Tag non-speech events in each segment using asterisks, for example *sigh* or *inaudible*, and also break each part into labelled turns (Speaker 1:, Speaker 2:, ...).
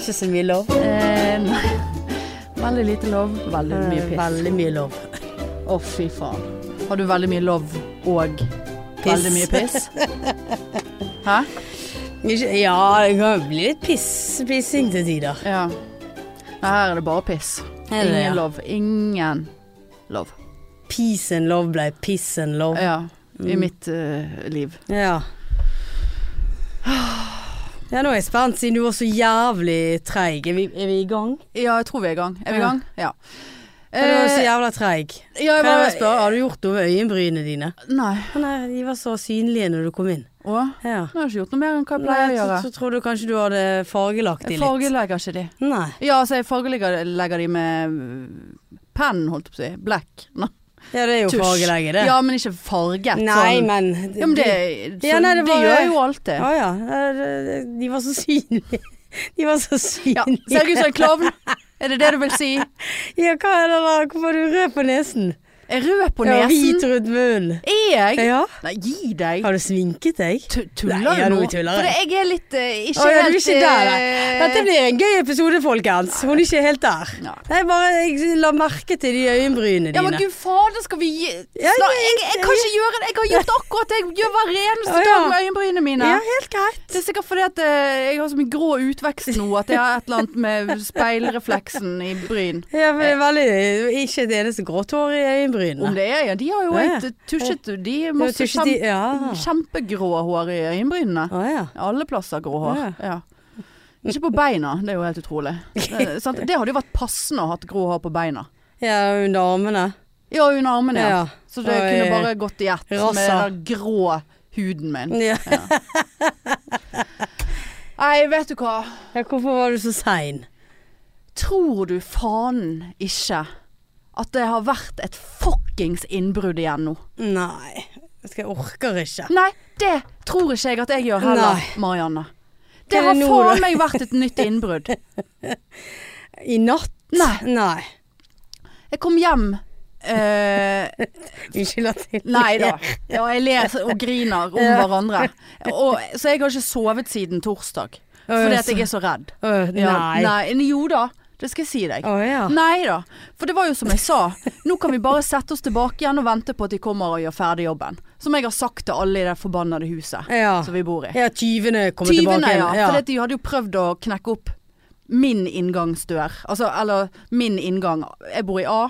Speaker 1: ikke så mye lov.
Speaker 2: Eh, nei. Veldig lite lov, veldig mye
Speaker 1: Eh,
Speaker 2: piss.
Speaker 1: Veldig mye lov.
Speaker 2: Å, fy faen. Har du veldig mye lov og veldig mye piss?
Speaker 1: *laughs*
Speaker 2: Hæ?
Speaker 1: Ikke- Ja, det kan jo bli litt piss, pissing til tider.
Speaker 2: Ja. Nei, her er det bare piss.
Speaker 1: Er det
Speaker 2: Ingen
Speaker 1: det, ja?
Speaker 2: lov. Ingen lov.
Speaker 1: Peace and love ble piss and love.
Speaker 2: Ja. Eh, I
Speaker 1: Mm.
Speaker 2: mitt eh, liv.
Speaker 1: Ja. Ja, nå er jeg spent, siden du var så jævlig treig. Er, vi- er vi i gang?
Speaker 2: Ja, jeg tror vi er i gang. Er vi i
Speaker 1: Ja.
Speaker 2: gang? Ja.
Speaker 1: Ja, du var så
Speaker 2: Eh,
Speaker 1: jævla treig.
Speaker 2: ja, jeg
Speaker 1: Kan jeg bare
Speaker 2: var
Speaker 1: spørre, har du gjort noe med øyenbrynene dine?
Speaker 2: Nei.
Speaker 1: Å Nei, de var så synlige når du kom inn.
Speaker 2: Å? Nå
Speaker 1: Ja.
Speaker 2: har jeg ikke gjort noe mer enn hva jeg
Speaker 1: Nei,
Speaker 2: pleier å gjøre.
Speaker 1: så, så trodde du kanskje du hadde fargelagt de
Speaker 2: Jeg
Speaker 1: litt.
Speaker 2: fargelegger ikke de.
Speaker 1: Nei.
Speaker 2: Ja, altså jeg fargelegger legger de med øh, penn, holdt jeg på å si. Black. Nå.
Speaker 1: Ja, det er jo
Speaker 2: Tusj.
Speaker 1: fargelegge, det.
Speaker 2: Ja, men ikke farget.
Speaker 1: nei,
Speaker 2: sånn.
Speaker 1: men
Speaker 2: Ja, men det, så,
Speaker 1: Ja, nei, det
Speaker 2: det,
Speaker 1: var-
Speaker 2: gjør jeg jo alltid.
Speaker 1: Ja, ja. Eh, det- det- De var så synlige. De var så
Speaker 2: Ja,
Speaker 1: synlige.
Speaker 2: ser jeg ut som en sånn, klovn? Er det det du vil si?
Speaker 1: Ja, hva er det da? Hvorfor er du rød på nesen?
Speaker 2: Jeg er rød på
Speaker 1: Ja, hvit
Speaker 2: nesen.
Speaker 1: rundt munnen.
Speaker 2: Er jeg?
Speaker 1: Ja.
Speaker 2: Nei, gi deg.
Speaker 1: Har du sminket deg?
Speaker 2: Tu-
Speaker 1: Nei, ja,
Speaker 2: Tuller du
Speaker 1: nå
Speaker 2: nå?
Speaker 1: tuller
Speaker 2: For
Speaker 1: jeg.
Speaker 2: jeg er litt eh,
Speaker 1: Å, ja, du
Speaker 2: ikke
Speaker 1: er
Speaker 2: helt
Speaker 1: ikke der, nei.
Speaker 2: eh,
Speaker 1: Dette blir en gøy episode, folkens. Hun er ikke helt der.
Speaker 2: Nei.
Speaker 1: Nei, bare jeg la merke til de øyenbrynene
Speaker 2: Ja,
Speaker 1: dine.
Speaker 2: men gud fader, skal vi gi
Speaker 1: Ja,
Speaker 2: Snak- jeg, jeg kan ikke gjøre det. Jeg har gjort akkurat det jeg gjør hver eneste
Speaker 1: Å, ja.
Speaker 2: dag med øyenbrynene mine.
Speaker 1: Ja, helt greit.
Speaker 2: Det er sikkert fordi at eh, jeg har så mye grå utvekst nå at jeg har et eller annet med speilrefleksen i bryn.
Speaker 1: Ja, men det er veldig, ikke et eneste grått hår i øyenbrynene.
Speaker 2: Eh. Om det er, ja. De har jo
Speaker 1: Ja, ja.
Speaker 2: et eh, tusjet De er
Speaker 1: Du
Speaker 2: masse
Speaker 1: tror ikke de
Speaker 2: kjem,
Speaker 1: Ja.
Speaker 2: kjempegrå hår i øyenbrynene.
Speaker 1: Å ja.
Speaker 2: Alle plasser grå hår.
Speaker 1: Ja.
Speaker 2: Ja. Ikke på beina, det er jo helt utrolig.
Speaker 1: *laughs*
Speaker 2: Det, sant? det hadde jo vært passende å ha grå hår på beina.
Speaker 1: Ja, under armene.
Speaker 2: Ja, under armene. Ja.
Speaker 1: Ja.
Speaker 2: Så det
Speaker 1: Og,
Speaker 2: kunne
Speaker 1: eh,
Speaker 2: bare gått i ett med
Speaker 1: rassa.
Speaker 2: den der grå huden min.
Speaker 1: Ja. *laughs*
Speaker 2: Nei, vet du hva.
Speaker 1: Ja, hvorfor var du så sein?
Speaker 2: Tror du faen ikke at det har vært et fuckings innbrudd igjen nå?
Speaker 1: Nei, jeg orker ikke.
Speaker 2: Nei, det tror ikke jeg at jeg gjør heller,
Speaker 1: Nei.
Speaker 2: Marianne.
Speaker 1: Hva
Speaker 2: Det
Speaker 1: er
Speaker 2: har
Speaker 1: det nå,
Speaker 2: faen
Speaker 1: da?
Speaker 2: meg vært et nytt innbrudd.
Speaker 1: I natt?
Speaker 2: Nei.
Speaker 1: Nei.
Speaker 2: Jeg kom hjem eh,
Speaker 1: Vi skylder til.
Speaker 2: Nei da. Ja, jeg ler og griner om
Speaker 1: Ja.
Speaker 2: hverandre. Og, så jeg har ikke sovet siden torsdag.
Speaker 1: Å,
Speaker 2: Fordi at
Speaker 1: så-
Speaker 2: jeg er så redd.
Speaker 1: Øh,
Speaker 2: Ja,
Speaker 1: nei.
Speaker 2: nei. Jo da, det skal jeg si deg.
Speaker 1: Å ja.
Speaker 2: Nei da, for det var jo som jeg sa. Nå kan vi bare sette oss tilbake igjen og vente på at de kommer og gjør ferdig jobben. Som jeg har sagt til alle i det forbannede huset
Speaker 1: Ja.
Speaker 2: som vi bor i.
Speaker 1: ja, tyvene kommer
Speaker 2: Tyvene,
Speaker 1: tilbake.
Speaker 2: ja.
Speaker 1: igjen.
Speaker 2: For de hadde jo prøvd å knekke opp min inngangsdør. Altså, eller min inngang. Jeg bor i A,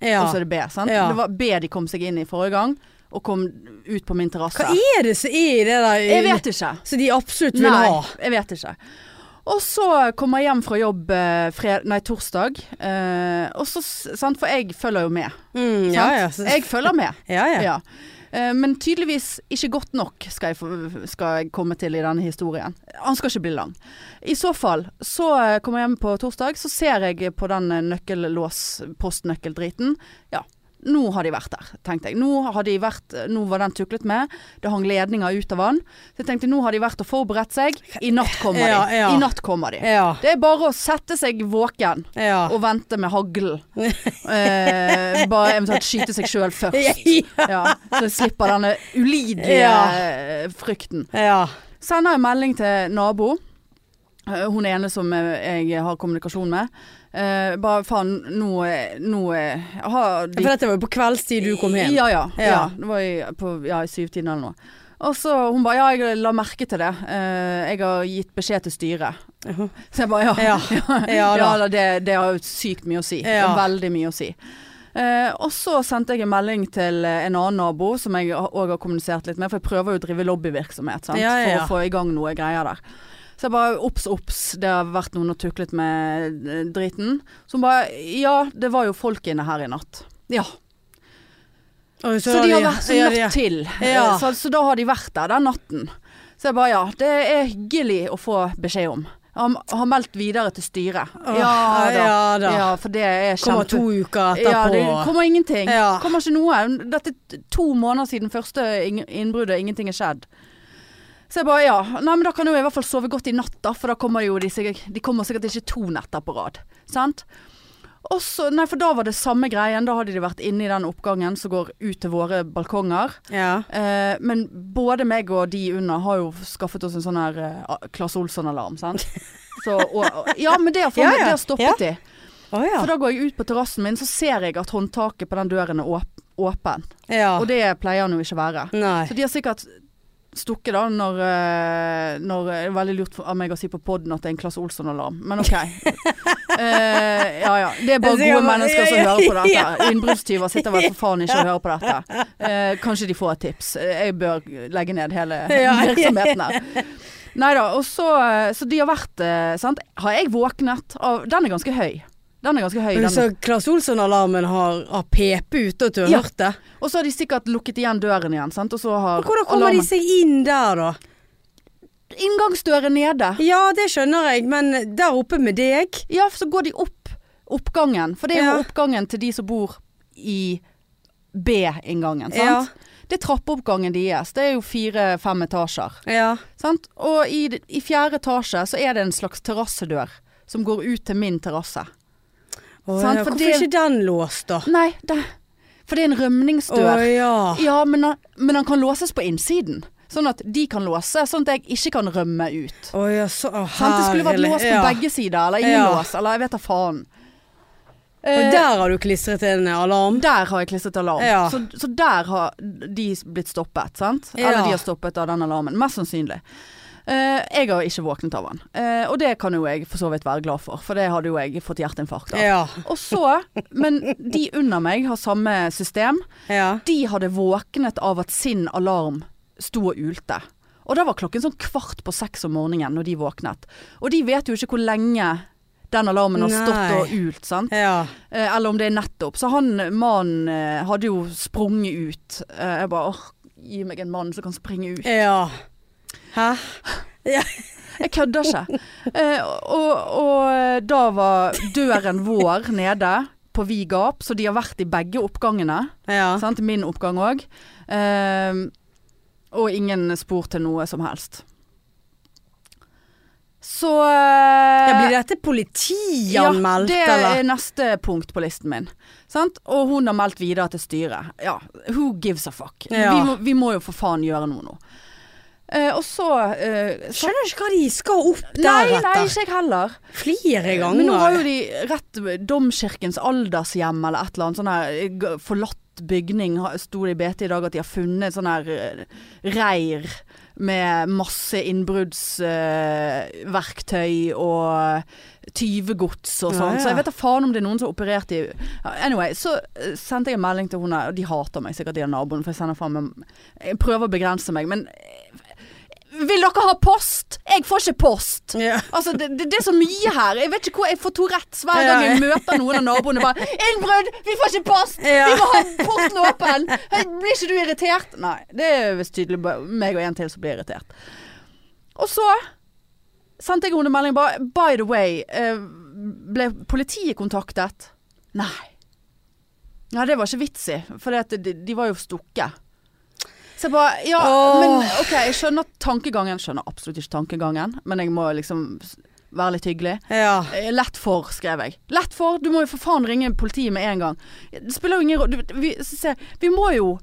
Speaker 1: ja.
Speaker 2: og så er det B. Sant?
Speaker 1: Ja.
Speaker 2: Det var B de kom seg inn i forrige gang, og kom ut på min terrasse.
Speaker 1: Hva er det som er i det der um,
Speaker 2: Jeg vet ikke.
Speaker 1: som de absolutt vil
Speaker 2: Nei,
Speaker 1: ha?
Speaker 2: jeg vet ikke. Og så kom jeg hjem fra jobb eh, fred, nei, torsdag, eh, og så, s- sant, for jeg følger jo
Speaker 1: *laughs*
Speaker 2: med.
Speaker 1: Mm, ja,
Speaker 2: Sant?
Speaker 1: ja. Så,
Speaker 2: Jeg følger med.
Speaker 1: ja, ja.
Speaker 2: Ja. Eh, Men tydeligvis ikke godt nok skal jeg, få- skal jeg komme til i denne historien. Han skal ikke bli lang. I så fall så eh, kommer jeg hjem på torsdag, så ser jeg på den eh, nøkkellås, postnøkkeldriten. Ja, nå har de vært der, tenkte jeg. Nå, har de vært, eh, nå var den tuklet med. Det hang ledninger ut av den. Så jeg tenkte nå har de vært og forberedt seg. I natt kommer
Speaker 1: Ja,
Speaker 2: de.
Speaker 1: ja.
Speaker 2: I natt kommer de.
Speaker 1: Ja.
Speaker 2: Det er bare å sette seg våken
Speaker 1: ja.
Speaker 2: og vente
Speaker 1: *laughs*
Speaker 2: med haglen. Eh, bare eventuelt skyte seg sjøl først.
Speaker 1: Ja.
Speaker 2: Ja, så jeg slipper denne ulidelige
Speaker 1: Ja.
Speaker 2: eh, frykten.
Speaker 1: ja.
Speaker 2: Sender en melding til nabo. eh, Hun ene som eh, jeg har kommunikasjon med. Eh, bare faen, nå, eh, nå eh, har de
Speaker 1: For dette var jo på kveldstid du kom hjem.
Speaker 2: Ja, ja.
Speaker 1: Ja.
Speaker 2: ja. det var i, på, ja, i syvtiden eller noe. Og så hun bare ja, jeg la merke til det. Eh, jeg har gitt beskjed til styret. Så jeg bare *laughs* ja.
Speaker 1: Ja. Ja da.
Speaker 2: Ja, da, det, det har jo sykt mye å si. Det
Speaker 1: Ja.
Speaker 2: er Veldig mye å si. Eh, og så sendte jeg en melding til eh, en annen nabo, som jeg òg har kommunisert litt med, for jeg prøver jo å drive lobbyvirksomhet sant?
Speaker 1: Ja, ja, ja.
Speaker 2: for å få i gang noe greier der. Så jeg bare obs, obs, det har vært noen og tuklet med eh, driten. Så hun bare ja, det var jo folk inne her i natt. Ja.
Speaker 1: Og
Speaker 2: Så, de har vært så
Speaker 1: ja,
Speaker 2: natt
Speaker 1: de-
Speaker 2: til. Eh,
Speaker 1: Ja.
Speaker 2: Så, så da har de vært der den natten. Så jeg bare ja, det er hyggelig å få beskjed om. Han har meldt videre til styret.
Speaker 1: Åh,
Speaker 2: ja da.
Speaker 1: Ja da.
Speaker 2: Ja, for det er kjempe...
Speaker 1: Kommer to uker etterpå.
Speaker 2: Ja, det kommer ingenting.
Speaker 1: Ja.
Speaker 2: Kommer ikke noe. Dette er t- to måneder siden første ing- innbruddet, ingenting er skjedd. Så jeg bare ja, nei men da kan jo jeg i hvert fall sove godt i natt da, for da kommer jo de sikkert De kommer sikkert ikke to netter på rad. Sant? Og så- nei, for da var det samme greien. Da hadde de vært inne i den oppgangen som går ut til våre balkonger.
Speaker 1: Ja.
Speaker 2: Eh, men både meg og de under har jo skaffet oss en sånn her eh, Claes Olsson-alarm, sant. Så, og, og, ja, men det har, for,
Speaker 1: Ja, ja.
Speaker 2: Det har stoppet
Speaker 1: Ja.
Speaker 2: de.
Speaker 1: Å ja.
Speaker 2: For da går jeg ut på terrassen min, så ser jeg at håndtaket på den døren er åp åpen.
Speaker 1: ja.
Speaker 2: Og det pleier han jo ikke å være.
Speaker 1: Nei.
Speaker 2: Så de har sikkert stukket da når, eh, når Det er veldig lurt for- av meg å si på poden at det er en Klasse Olsson-alarm, men
Speaker 1: *laughs*
Speaker 2: OK. Eh, ja ja. Det er bare
Speaker 1: Jeg sier
Speaker 2: gode
Speaker 1: bare-
Speaker 2: mennesker
Speaker 1: *laughs*
Speaker 2: som
Speaker 1: ja, ja,
Speaker 2: hører på dette. Innbruddstyver sitter
Speaker 1: *laughs*
Speaker 2: vel for faen ikke og hører på dette. Eh, kanskje de får et tips. Eh, Jeg bør legge ned hele
Speaker 1: *laughs* Ja.
Speaker 2: *laughs* virksomheten her. Nei da. Og så eh, Så de har vært eh, Sant. Har jeg våknet av Den er ganske høy. Den er ganske høy.
Speaker 1: Men
Speaker 2: Den
Speaker 1: Så Claes Olsson-alarmen har, har pepe ute, og du har
Speaker 2: Ja.
Speaker 1: hørt det?
Speaker 2: Og så har de sikkert lukket igjen døren igjen, sant. Og så har
Speaker 1: Og Hvordan kommer
Speaker 2: alarmen-
Speaker 1: de seg inn der, da?
Speaker 2: Inngangsdøren nede.
Speaker 1: Ja, det skjønner jeg, men der oppe med deg
Speaker 2: Ja, for så går de opp oppgangen. For det er jo
Speaker 1: Ja.
Speaker 2: oppgangen til de som bor i B-inngangen,
Speaker 1: Ja.
Speaker 2: sant. Det er trappeoppgangen deres. Det er jo fire-fem etasjer.
Speaker 1: Ja.
Speaker 2: Sant? Og i, d- i fjerde etasje så er det en slags terrassedør som går ut til min terrasse.
Speaker 1: Å,
Speaker 2: Sant,
Speaker 1: ja.
Speaker 2: for
Speaker 1: Hvorfor
Speaker 2: det-
Speaker 1: er ikke den låst, da?
Speaker 2: Nei, det, for det er en
Speaker 1: Å
Speaker 2: rømningsdør.
Speaker 1: ja.
Speaker 2: Ja, men, han- men han kan låses på innsiden. Sånn at de kan låse, sånn at jeg ikke kan rømme ut.
Speaker 1: Å ja, så å,
Speaker 2: Sant? Det skulle vært
Speaker 1: herlig.
Speaker 2: låst på
Speaker 1: Ja.
Speaker 2: begge sider, eller ingen
Speaker 1: Ja.
Speaker 2: lås, eller jeg vet da faen.
Speaker 1: Og
Speaker 2: Eh,
Speaker 1: der har du klistret en alarm?
Speaker 2: Der har jeg klistret alarm.
Speaker 1: Ja.
Speaker 2: Så, så der har de blitt stoppet, sant?
Speaker 1: Ja.
Speaker 2: Eller de har stoppet av den alarmen. Mest sannsynlig. Eh, jeg har ikke våknet av den. Eh, og det kan jo jeg for så vidt være glad for, for det hadde jo jeg fått hjerteinfarkt av.
Speaker 1: Ja.
Speaker 2: Og så, men de under meg har samme system.
Speaker 1: ja.
Speaker 2: De hadde våknet av at sin alarm sto og ulte. Og da var klokken sånn kvart på seks om morgenen når de våknet. Og de vet jo ikke hvor lenge den alarmen har stått
Speaker 1: Nei.
Speaker 2: og ult, sant?
Speaker 1: Ja.
Speaker 2: Eh, Eller om det er nettopp. Så han mannen eh, hadde jo sprunget ut. Eh, Jeg bare åh, gi meg en mann som kan springe ut.
Speaker 1: ja. Hæ?
Speaker 2: Jeg kødder ikke. Eh, Og, og eh, da var døren vår nede på vid gap, så de har vært i begge oppgangene.
Speaker 1: Ja.
Speaker 2: Sant? Min oppgang òg. Og ingen spor til noe som helst. Så
Speaker 1: Ja,
Speaker 2: eh,
Speaker 1: blir dette politianmeldt,
Speaker 2: ja, det
Speaker 1: eller?
Speaker 2: er neste punkt på listen min. Sant? Og hun har meldt videre til styret. Ja, who gives a fuck?
Speaker 1: Ja.
Speaker 2: Vi, må, vi må jo for faen gjøre noe nå. Eh, og så eh, så-
Speaker 1: Skjønner ikke hva de skal opp der
Speaker 2: Nei, nei,
Speaker 1: etter.
Speaker 2: ikke jeg heller.
Speaker 1: Flere
Speaker 2: Men nå har jo
Speaker 1: ganger.
Speaker 2: de rett Domkirkens aldershjem eller et eller annet sånn her g- forlatt bygning, ha- sto det i BT i dag at de har funnet sånn her eh, reir med masse innbruddsverktøy og tyvegods og
Speaker 1: Ja,
Speaker 2: sånn.
Speaker 1: ja.
Speaker 2: Så jeg vet da faen om det er noen som har operert i Ja, Anyway, så eh, sendte jeg en melding til henne, og de hater meg sikkert, de av naboene, for jeg sender faen meg Jeg prøver å begrense meg, men eh, Vil dere ha post? Jeg får ikke post!
Speaker 1: Ja.
Speaker 2: Altså, det, det, det er så mye her. Jeg vet ikke hvor jeg får Tourettes hver gang jeg møter noen av naboene. Bare 'Innbrudd! Vi får ikke post! Vi må ha porten åpen!' Hei, Blir ikke du irritert? Nei. Det er visst tydelig bare meg og en til som blir irritert. Og så sendte jeg henne en melding bare 'By the way, eh, ble politiet kontaktet?' Nei. Ja, det var ikke vits i, for det at de, de var jo stukket. Så jeg bare Ja,
Speaker 1: Åh.
Speaker 2: men OK, jeg skjønner tankegangen. Skjønner absolutt ikke tankegangen, men jeg må liksom s- være litt hyggelig.
Speaker 1: ja.
Speaker 2: Eh, Lett for, skrev jeg. Lett for! Du må jo for faen ringe politiet med en gang. Det spiller jo ingen rolle. Vi, se, vi må jo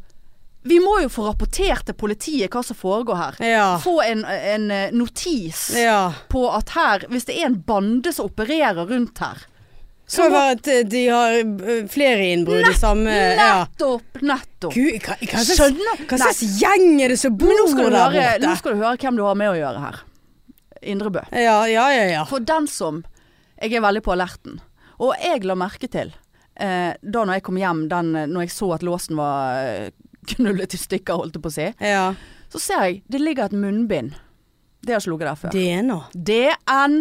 Speaker 2: Vi må jo få rapportert til politiet hva som foregår her.
Speaker 1: Ja.
Speaker 2: Få en, en eh, notis
Speaker 1: ja.
Speaker 2: på at her Hvis det er en bande som opererer rundt her
Speaker 1: Så det var at eh, de har eh, flere innbrudd i samme ja.
Speaker 2: Nettopp! Nettopp!
Speaker 1: Gud, hva, hva slags,
Speaker 2: Skjønner
Speaker 1: hva slags gjeng er det som bor
Speaker 2: Men nå skal, du
Speaker 1: der
Speaker 2: høre, nå
Speaker 1: borte?
Speaker 2: skal du høre hvem du har med å gjøre her. Indrebø.
Speaker 1: Ja, ja, ja. ja.
Speaker 2: For den som Jeg er veldig på alerten. Og jeg la merke til, eh, da når jeg kom hjem, den, eh, når jeg så at låsen var eh, knullet i stykker, holdt jeg på å si,
Speaker 1: ja.
Speaker 2: så ser jeg det ligger et munnbind. Det har ikke ligget der før.
Speaker 1: DNA.
Speaker 2: DN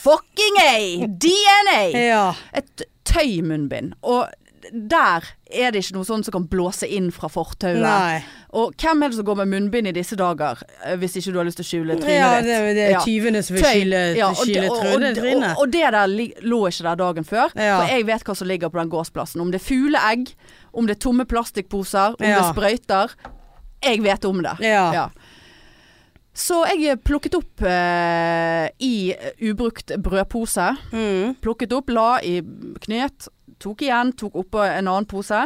Speaker 2: fucking A! DNA!
Speaker 1: Ja.
Speaker 2: Et tøymunnbind. Og der er det ikke noe sånt som kan blåse inn fra fortauet.
Speaker 1: Nei.
Speaker 2: Og hvem er det som går med munnbind i disse dager, eh, hvis ikke du har lyst til å skjule trynet
Speaker 1: Ja,
Speaker 2: ditt?
Speaker 1: det, det er
Speaker 2: Ja.
Speaker 1: tyvene som vil
Speaker 2: Tøy.
Speaker 1: skyle,
Speaker 2: Ja, og det-
Speaker 1: skyle
Speaker 2: og-
Speaker 1: trønne
Speaker 2: og-
Speaker 1: trynet.
Speaker 2: Og, og det der li- lå ikke der dagen før,
Speaker 1: Ja.
Speaker 2: for jeg vet hva som ligger på den gårdsplassen. Om det er fugleegg, om det er tomme plastikkposer, om det
Speaker 1: Ja.
Speaker 2: er sprøyter. Jeg vet om det.
Speaker 1: Ja.
Speaker 2: Ja. Så jeg plukket opp eh, i ubrukt brødpose.
Speaker 1: Mm.
Speaker 2: Plukket opp, la i knet, tok igjen, tok oppå en annen pose.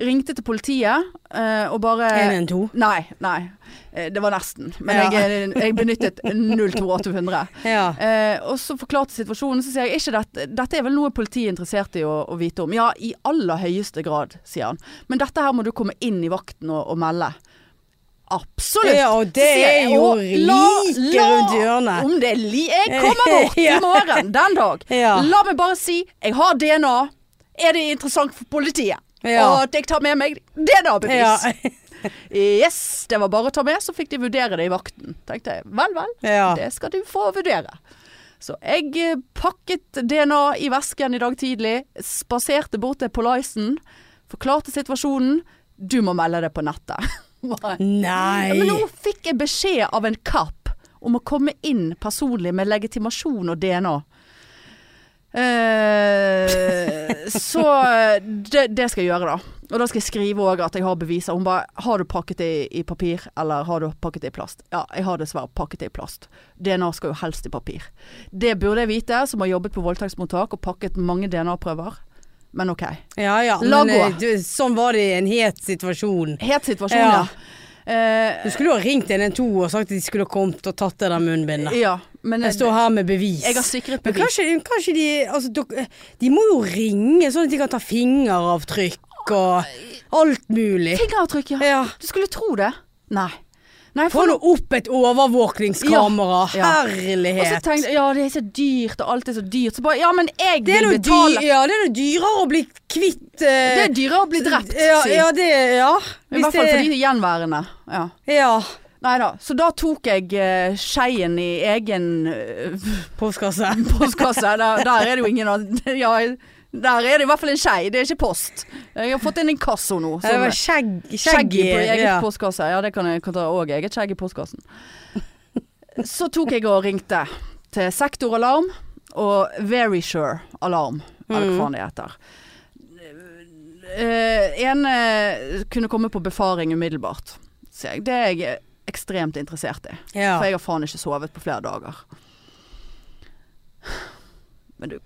Speaker 2: Ringte til politiet eh, og bare
Speaker 1: 112.
Speaker 2: Nei, nei. Eh, Det var nesten. Men
Speaker 1: Ja.
Speaker 2: jeg, eh, jeg
Speaker 1: *laughs*
Speaker 2: benyttet 02800.
Speaker 1: Ja.
Speaker 2: Eh, og så forklarte situasjonen, så sier jeg ikke dette, dette er vel noe politiet er interessert i å, å vite om. Ja, i aller høyeste grad, sier han. Men dette her må du komme inn i vakten og, og melde. Absolutt!
Speaker 1: Ja, og det
Speaker 2: Så sier jeg,
Speaker 1: er jo
Speaker 2: og la-
Speaker 1: like
Speaker 2: la-
Speaker 1: rundt hjørnet.
Speaker 2: Om det er li... Jeg kommer bort i
Speaker 1: *laughs* Ja.
Speaker 2: morgen den dag.
Speaker 1: Ja.
Speaker 2: La meg bare si, jeg har DNA. Er det interessant for politiet?
Speaker 1: Ja.
Speaker 2: Og at jeg tar med meg DNA-bevis.
Speaker 1: Ja.
Speaker 2: Yes, det var bare å ta med, så fikk de vurdere det i vakten. Tenkte jeg, vel, vel,
Speaker 1: Ja. *laughs*
Speaker 2: det skal du få vurdere. Så jeg eh, pakket DNA i vesken i dag tidlig, spaserte bort til Polaisen, forklarte situasjonen. Du må melde det på *laughs* nettet. Bare,
Speaker 1: Nei.
Speaker 2: Men nå fikk jeg beskjed av en kapp om å komme inn personlig med legitimasjon og DNA. Eh, så det, det skal jeg gjøre, da. Og da skal jeg skrive òg at jeg har beviser. Hun bare 'Har du pakket det i, i papir, eller har du pakket det i plast?' Ja, jeg har dessverre pakket det i plast. DNA skal jo helst i papir. Det burde jeg vite, som har jobbet på voldtektsmottak og pakket mange DNA-prøver. Men OK.
Speaker 1: Ja ja,
Speaker 2: La
Speaker 1: men
Speaker 2: gå.
Speaker 1: eh, du, sånn var det i en het situasjon.
Speaker 2: Het situasjon,
Speaker 1: Ja.
Speaker 2: ja. Eh,
Speaker 1: Du skulle jo ha ringt 112 og sagt at de skulle ha kommet og tatt det der munnbindet.
Speaker 2: ja, men
Speaker 1: Jeg står her med bevis.
Speaker 2: jeg har sikret
Speaker 1: Men
Speaker 2: bevis.
Speaker 1: kanskje, kanskje de altså, dok- De må jo ringe sånn at de kan ta fingeravtrykk og alt mulig.
Speaker 2: eh, Fingeravtrykk, ja.
Speaker 1: Ja.
Speaker 2: Du skulle tro det. Nei. Nei
Speaker 1: Få nå opp et overvåkningskamera.
Speaker 2: Ja, ja. og så
Speaker 1: Herlighet.
Speaker 2: tenkte jeg ja, det er så dyrt, og alt er så dyrt. Så bare ja, men jeg
Speaker 1: det er
Speaker 2: vil
Speaker 1: noe
Speaker 2: betale.
Speaker 1: dy- ja, det er noe dyrere å bli kvitt eh,
Speaker 2: Det er dyrere å bli drept,
Speaker 1: ja,
Speaker 2: si.
Speaker 1: ja, det Ja.
Speaker 2: I hvert fall for de gjenværende. Ja.
Speaker 1: Ja.
Speaker 2: Nei da. Så da tok jeg eh, skeien i egen eh, *laughs*
Speaker 1: Postkasse.
Speaker 2: Sånn postkasse. Der, der er det jo ingen annen *laughs* ja, Der er det i hvert fall en skei, det er ikke post. Jeg har fått inn inkasso nå.
Speaker 1: Ja, det
Speaker 2: som-
Speaker 1: var skjegg,
Speaker 2: Skjegg i på eget
Speaker 1: ja.
Speaker 2: postkasse. Ja, det kan jeg kan ta òg. Eget skjegg i postkassen. *laughs* Så tok jeg og ringte til Sektoralarm og Verisure Alarm, eller hva faen det heter. Eh, en eh, kunne komme på befaring umiddelbart, sier jeg. Det er jeg ekstremt interessert i.
Speaker 1: Ja.
Speaker 2: For jeg har faen ikke sovet på flere dager. Men du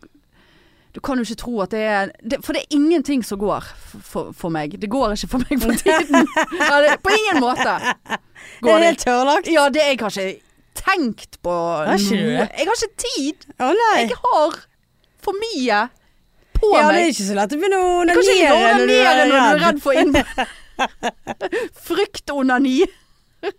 Speaker 2: Du kan jo ikke tro at det er det, For det er ingenting som går f- for, for meg. Det går ikke for
Speaker 1: *laughs*
Speaker 2: meg for tiden. Ja, det, på ingen måte.
Speaker 1: Det
Speaker 2: Går
Speaker 1: er
Speaker 2: det.
Speaker 1: helt tørrlagt.
Speaker 2: Ja, det jeg har ikke tenkt på
Speaker 1: Har ikke du det?
Speaker 2: Jeg har ikke tid.
Speaker 1: Å nei.
Speaker 2: Jeg har for mye på
Speaker 1: Ja, det er
Speaker 2: meg.
Speaker 1: ikke så lett å begynne å
Speaker 2: Kanskje jeg
Speaker 1: onanere
Speaker 2: gjør det mer enn når du er
Speaker 1: redd.
Speaker 2: redd for innbrudd. *laughs* Fryktonani. Å,